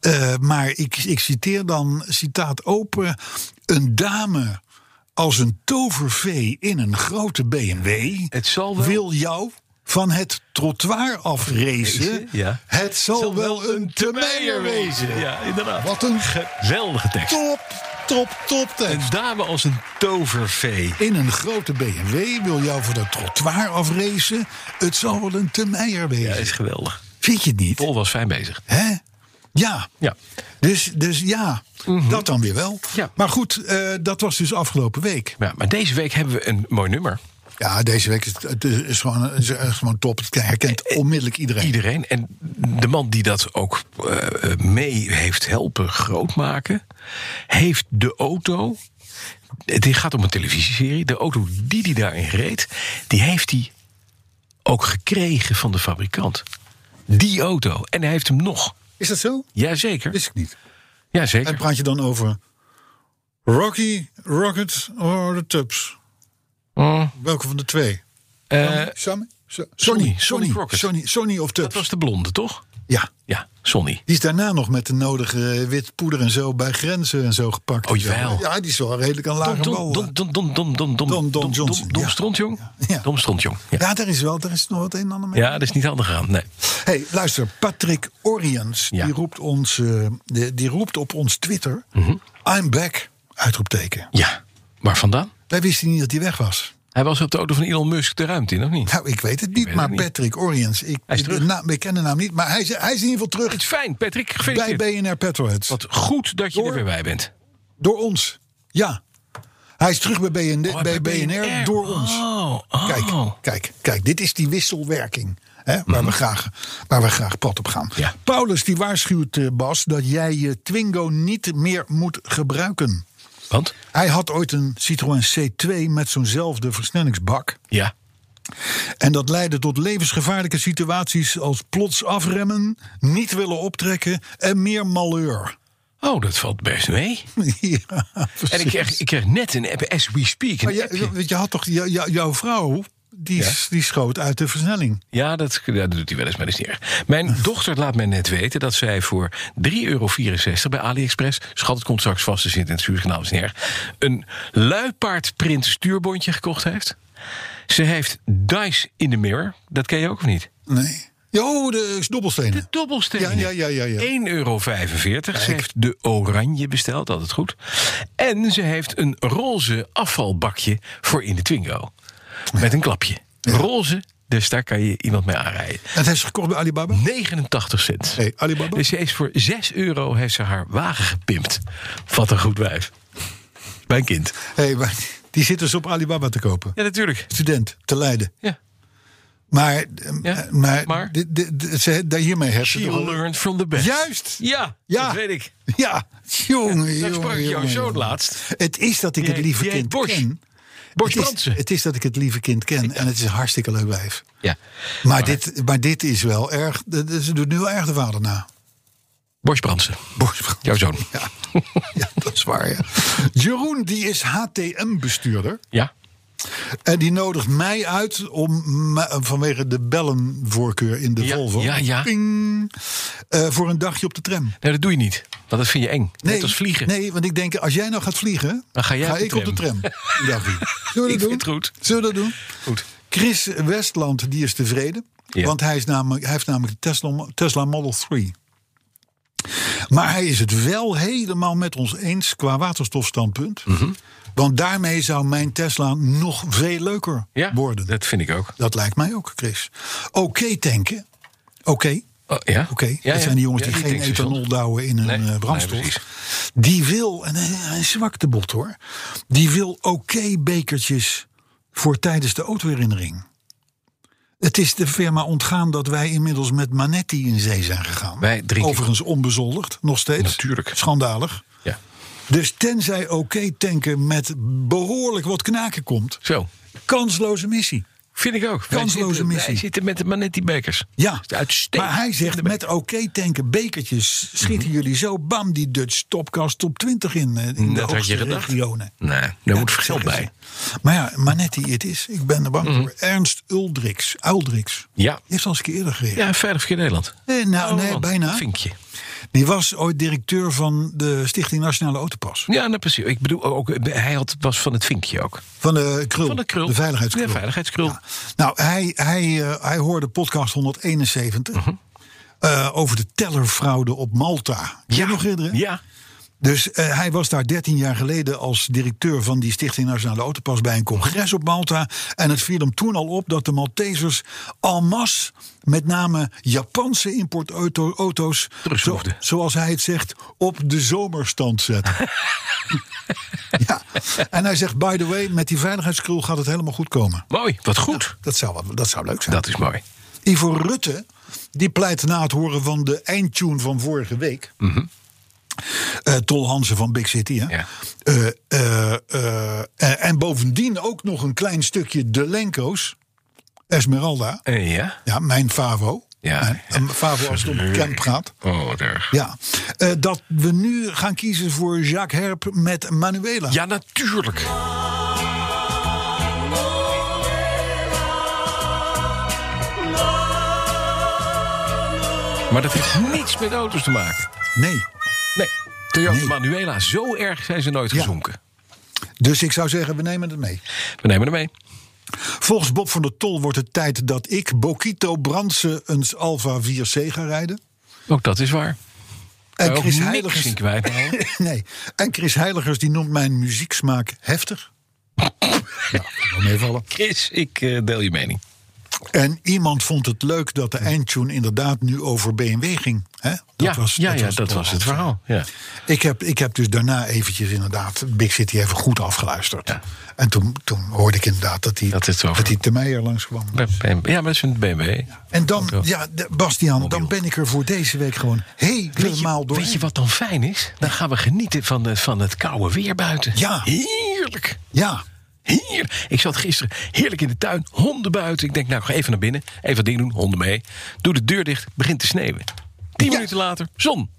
B: Eh, maar ik, ik citeer dan, citaat open, een dame als een tovervee in een grote BMW
C: Het zal wel-
B: wil jou van het trottoir afrezen.
C: Ja.
B: Het zal, wel een te meier wezen.
C: Ja, inderdaad.
B: Wat een
C: Geweldige tekst.
B: top Top, top
C: Een
B: tekst.
C: dame als een tovervee.
B: In een grote BMW wil jou voor dat trottoir afracen. Het zal wel een te meijer
C: Ja, is
B: wezen.
C: geweldig.
B: Vind je het niet?
C: Pol was fijn bezig.
B: Hè? Ja.
C: Ja. Mhm.
B: Dus, dus ja, dat dan weer wel.
C: Ja.
B: Maar goed, eh, dat was dus afgelopen week.
C: Ja, maar deze week hebben we een mooi nummer.
B: Ja, deze week is het- het is gewoon, is echt gewoon top. Het
C: Eh,
B: herkent onmiddellijk iedereen.
C: Iedereen. En de man die dat ook eh, mee heeft helpen grootmaken, heeft de auto. Het gaat om een televisieserie. De auto die hij daarin reed, die heeft hij ook gekregen van de fabrikant. Die auto. En hij heeft hem nog.
B: Is dat zo?
C: Jazeker.
B: Wist ik niet. En
C: Jazeker.
B: Dus- praat je dan over Rocky, Rocket of de Tubbs?
C: Mm,
B: Welke van de twee?
C: eh,
B: Sammy? So-
C: Sonny,
B: Sonny,
C: Sonny
B: Sonny,
C: Crockett.
B: Sonny, Sonny of
C: dat
B: Tubbs?
C: was de blonde, toch?
B: Ja.
C: Ja, Sonny.
B: Die is daarna nog met de nodige eh, wit poeder en zo bij grenzen en zo gepakt.
C: Oh, jawel.
B: Ja, die is wel redelijk aan
C: Dom,
B: lage
C: dom,
B: bal.
C: dom, dom, dom, dom, dom,
B: Dom-
C: dom,
B: Dom
C: dom,
B: Johnson,
C: dom, dom,
B: ja.
C: strontjong.
B: Ja.
C: Dom strontjong. Ja.
B: Ja, daar is wel, daar is nog wat een en ander mee.
C: Ja, dat is niet handig gegaan. Nee.
B: Hey, luister, Patrick Oriens,
C: Ja.
B: die, roept ons, eh, de- die roept op ons Twitter...
C: Mhm.
B: I'm back, uitroepteken.
C: Ja, waar vandaan?
B: Wij wisten niet dat hij weg was.
C: Hij was op de auto van Elon Musk de ruimte in, of niet?
B: Nou, ik weet het niet,
C: weet
B: maar
C: het niet.
B: Patrick Oriens... Ik,
C: Hij is
B: ik-
C: terug.
B: de naam- ik ken de naam niet, maar hij is, hij is in ieder geval
C: Het
B: terug
C: is fijn, Patrick.
B: bij
C: Gefeliciteerd.
B: BNR Petroheads.
C: Wat goed dat je
B: Door.
C: er weer bij bent.
B: Door ons, ja. Hij is terug bij, BN,
C: Oh,
B: bij BNR, door ons.
C: Oh, oh.
B: Kijk, kijk, kijk, dit is die wisselwerking. Hè, waar, we graag, waar we graag pad op gaan.
C: Mhm. Ja.
B: Paulus die waarschuwt eh, Bas dat jij je Twingo niet meer moet gebruiken.
C: Want?
B: Hij had ooit een Citroën C2 met zo'nzelfde versnellingsbak.
C: Ja.
B: En dat leidde tot levensgevaarlijke situaties als plots afremmen, niet willen optrekken en meer malheur. [LAUGHS]
C: Oh, dat valt best mee.
B: ja,
C: En ik kreeg, ik kreeg net een app, as we speak.
B: Maar
C: Een
B: je,
C: appje.
B: je- je had toch jou- jou- jouw vrouw, die,
C: Ja.
B: die schoot uit de versnelling.
C: Ja, dat, dat doet hij wel eens, maar dat is niet erg. Mijn dochter laat mij net weten dat zij voor 3,64 euro bij AliExpress... schat, het komt straks vast te zitten in het zuurgenaam, is niet erg... een luipaardprint stuurbondje gekocht heeft. Ze heeft Dice in the Mirror, dat ken je ook of niet?
B: Nee. Jo, de dobbelstenen.
C: Dobbelstenen.
B: Ja, ja, ja, ja, ja.
C: 1,45 euro. Ze heeft de oranje besteld, altijd goed. En ze heeft een roze afvalbakje voor in de Twingo. Met een klapje. Roze, dus daar kan je iemand mee aanrijden.
B: Dat heeft ze gekocht bij Alibaba?
C: 89 cent.
B: Nee, Alibaba?
C: Dus ze heeft voor 6 euro heeft ze haar wagen gepimpt. Wat een goed wijf. Mijn kind.
B: Hey, maar [LAUGHS] die zit dus op Alibaba te kopen.
C: Ja, natuurlijk.
B: Student, te Leiden.
C: Ja.
B: Maar, eh,
C: Ja,
B: maar,
C: maar?
B: dit- dit- dit- ze, daar hiermee heeft ze
C: She
B: toch-
C: learned from the best.
B: Juist!
C: Ja,
B: Ja.
C: dat weet ik.
B: Ja, jongen,
C: Daar
B: jongen,
C: sprak ik jouw
B: jongen,
C: zoon
B: jongen.
C: laatst.
B: Het is dat ik
C: Die
B: het
C: heet-
B: lieve
C: die
B: kind
C: heet Bosch.
B: ken.
C: Bosch
B: het, is,
C: Brandsen.
B: het is dat ik het lieve kind ken. En het is een hartstikke leuk wijf.
C: Ja.
B: Maar, dit, maar dit is wel erg... de- de- Ze doet nu wel erg de vader na.
C: Bosch Brandsen,
B: Bosch.
C: jouw zoon.
B: Ja. ja, dat is waar, ja. Jeroen, die is HTM-bestuurder.
C: Ja.
B: En die nodigt mij uit om me- vanwege de bellenvoorkeur in de
C: Ja,
B: Volvo.
C: ja, ja.
B: Ping, eh, voor een dagje op de tram.
C: Nee, dat doe je niet. Want dat vind je eng. Net als vliegen.
B: Nee, want ik denk, als jij nou gaat vliegen,
C: Dan ga jij op de
B: ik op de tram.
C: tram. [LAUGHS]
B: Ja, Zullen we dat
C: Ik vind
B: doen?
C: het goed.
B: Zullen we dat doen?
C: Goed.
B: Chris Westland, die is tevreden.
C: Ja.
B: Want hij, is namelijk, hij heeft namelijk de Tesla, Tesla Model 3. Maar hij is het wel helemaal met ons eens qua waterstofstandpunt.
C: Mhm.
B: Want daarmee zou mijn Tesla nog veel leuker
C: Ja,
B: worden.
C: dat vind ik ook.
B: Dat lijkt mij ook, Chris. Oké tanken. Oké.
C: Oh, ja?
B: Oké,
C: Ja,
B: dat
C: ja.
B: zijn die jongens
C: Ja,
B: die geen
C: denken ze
B: ethanol
C: zo.
B: douwen in hun
C: Nee,
B: eh,
C: nee,
B: brandstof.
C: precies.
B: die wil, en hij- hij is zwak de bot hoor. Die wil oké bekertjes voor tijdens de autoherinnering. Het is de firma ontgaan dat wij inmiddels met Manetti in zee zijn gegaan.
C: Wij drinken-
B: Overigens onbezoldigd, nog steeds.
C: Natuurlijk.
B: Schandalig.
C: Ja.
B: Dus tenzij oké tanken met behoorlijk wat knaken komt.
C: Zo.
B: Kansloze missie.
C: Vind ik ook. Wij
B: Kansloze
C: zitten-
B: missie.
C: Wij zitten met de Manetti-bekers.
B: Ja,
C: Uitstekend. Mhm.
B: maar hij zegt met oké tanken bekertjes schieten jullie zo bam die Dutch topkast top 20 in, eh, in de
C: Mm, Dat had
B: hoogste
C: je gedacht.
B: regionen.
C: Nee, daar moet geld bij. Mhm.
B: Maar ja, Manetti het is. Ik ben er bang voor. Ernst Uldriks. Uldriks.
C: Ja.
B: Die heeft al eens een keer eerder gereden.
C: Ja, veilig verkeer Nederland.
B: Nee, nou,
C: Oh,
B: nee,
C: man,
B: bijna.
C: Vinkje.
B: Die was ooit directeur van de Stichting Nationale Autopas.
C: Ja, nou precies. Ik bedoel, ook, hij had, was van het vinkje ook.
B: Van de krul.
C: Van de krul.
B: De veiligheidskrul.
C: De veiligheidskrul.
B: Ja. Nou, hij, hij, eh, hij hoorde podcast
C: Mhm.
B: 171 eh, over de tellerfraude op Malta. Kun je
C: Ja.
B: nog herinneren?
C: Ja.
B: Dus eh, hij was daar 13 jaar geleden als directeur van die Stichting Nationale Autopas bij een congres op Malta. En het viel hem toen al op dat de Maltesers en masse, met name Japanse importauto's,
C: Terugschroefden.
B: zoals hij het zegt, op de zomerstand zetten. ja. En hij zegt, by the way, met die veiligheidskrul gaat het helemaal goed komen.
C: Mooi, wat goed.
B: Dat zou, wel- dat zou leuk zijn.
C: Dat is mooi.
B: Ivo Rutte, die pleit na het horen van de eindtune van vorige week. eh, Tol Hansen van Big City. Hè?
C: Mhm. Ja.
B: Eh, eh, eh, eh, en bovendien ook nog een klein stukje De Lenko's. Esmeralda.
C: Eh, ja?
B: Ja, mijn Favo.
C: Ja,
B: Mijn-
C: ja.
B: een Favo als het om camp gaat.
C: Oh, wat erg.
B: Ja. Eh, dat we nu gaan kiezen voor Jacques Herp met Manuela.
C: Ja, natuurlijk. Maar dat heeft niets met auto's te maken.
B: Nee.
C: Nee. Toyota
B: Nee.
C: Manuela, zo erg zijn ze nooit
B: Ja.
C: gezonken.
B: Dus ik zou zeggen, we nemen het mee.
C: We nemen hem mee.
B: Volgens Bob van der Tol wordt het tijd dat ik Bokito Brandse een Alfa 4C ga rijden.
C: Ook dat is waar.
B: En
C: ook
B: Chris,
C: niks
B: Heiligers,
C: in kwijtraken.
B: [LAUGHS] nee. en Chris Heiligers die noemt mijn muzieksmaak heftig. ja, wel meevallen.
C: Chris, ik eh, deel je mening.
B: En iemand vond het leuk dat de eindtune inderdaad nu over BMW ging. Hè? Dat
C: ja, ja, ja, dat
B: toch
C: was het
B: wel-
C: verhaal. Ja.
B: Ik heb, ik heb dus daarna eventjes inderdaad Big City even goed afgeluisterd.
C: Ja.
B: En toen, toen hoorde ik inderdaad dat die,
C: Dat het zo
B: dat die te Meijer langskwam.
C: Ja, maar dat is een BMW.
B: En dan,
C: Auto.
B: ja, de- Bastiaan, dan ben ik er voor deze week gewoon
C: Weet
B: helemaal
C: je,
B: door.
C: weet je wat dan fijn is? Dan gaan we genieten van, de, van het koude weer buiten.
B: Ja.
C: Heerlijk.
B: Ja,
C: Hier. Ik zat gisteren heerlijk in de tuin, honden buiten. Ik denk, nou, ik ga even naar binnen, even wat dingen doen, honden mee. Doe de deur dicht, begint te sneeuwen. Tien
B: Ja.
C: minuten later, zon.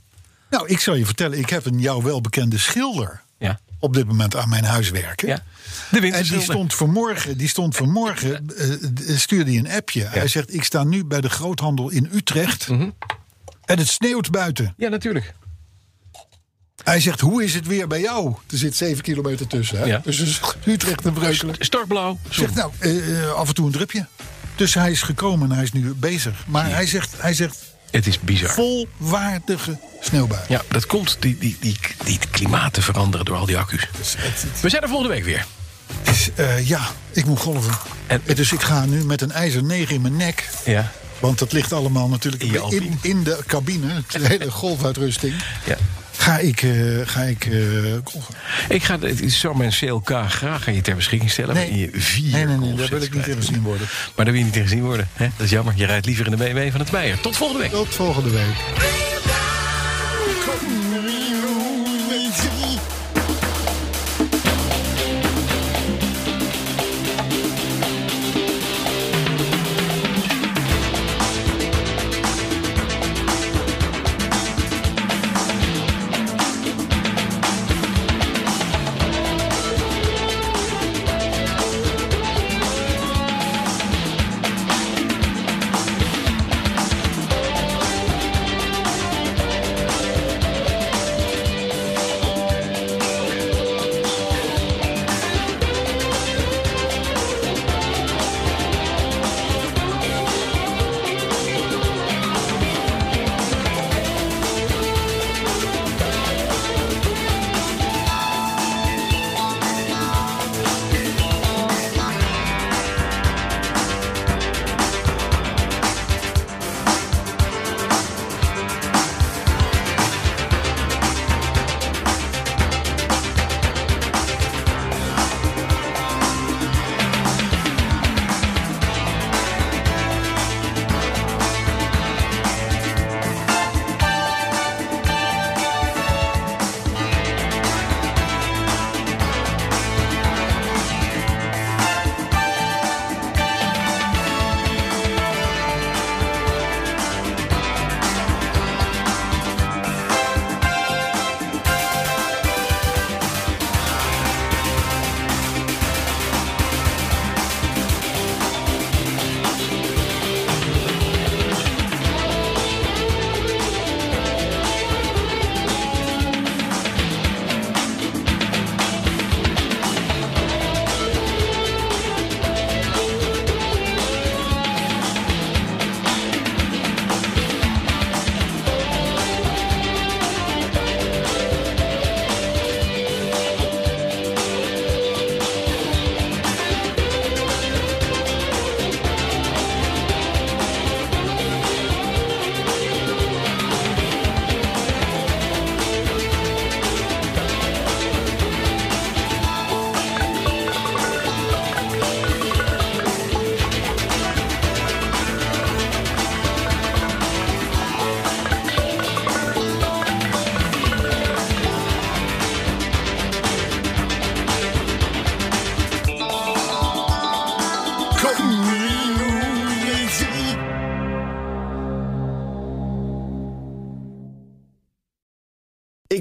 B: nou, ik zal je vertellen, ik heb een jou welbekende schilder
C: Ja.
B: op dit moment aan mijn huis werken.
C: ja. De wind
B: En die stond vanmorgen, die stond vanmorgen eh, eh, stuurde hij een appje. Hij zegt, ik sta nu bij de groothandel in Utrecht
C: Mhm.
B: en het sneeuwt buiten.
C: Ja, natuurlijk.
B: Hij zegt, hoe is het weer bij jou? Er zit zeven kilometer tussen, hè?
C: Ja. Dus-
B: dus het is Utrecht en Breukelen.
C: Stortblauw, zon.
B: Zegt, nou, eh, eh, af en toe een drupje. Dus hij is gekomen en hij is nu bezig. Maar hij zegt, hij zegt
C: Het is bizar.
B: volwaardige sneeuwbui.
C: Ja, dat komt, die, die, die, die klimaten veranderen door al die accu's. We zijn er volgende week weer.
B: Dus, eh, ja, ik moet golven.
C: En-
B: dus ik ga nu met een ijzer 9 in mijn nek.
C: Ja.
B: Want dat ligt allemaal natuurlijk
C: In je
B: in,
C: Alpine.
B: in, de cabine. [LAUGHS] De hele golfuitrusting.
C: Ja.
B: Ga ik, eh, ga ik eh, golven.
C: Ik ga de- ik zou mijn CLK graag aan je ter beschikking stellen.
B: Nee.
C: maar je vier
B: Nee, nee, nee,
C: golfsets
B: daar wil ik niet
C: kwijt.
B: in gezien worden.
C: Maar daar wil je niet in gezien worden. Hè? Dat is jammer. Je rijdt liever in de BMW van het Meijer. Tot volgende week.
B: Tot volgende week.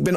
E: ben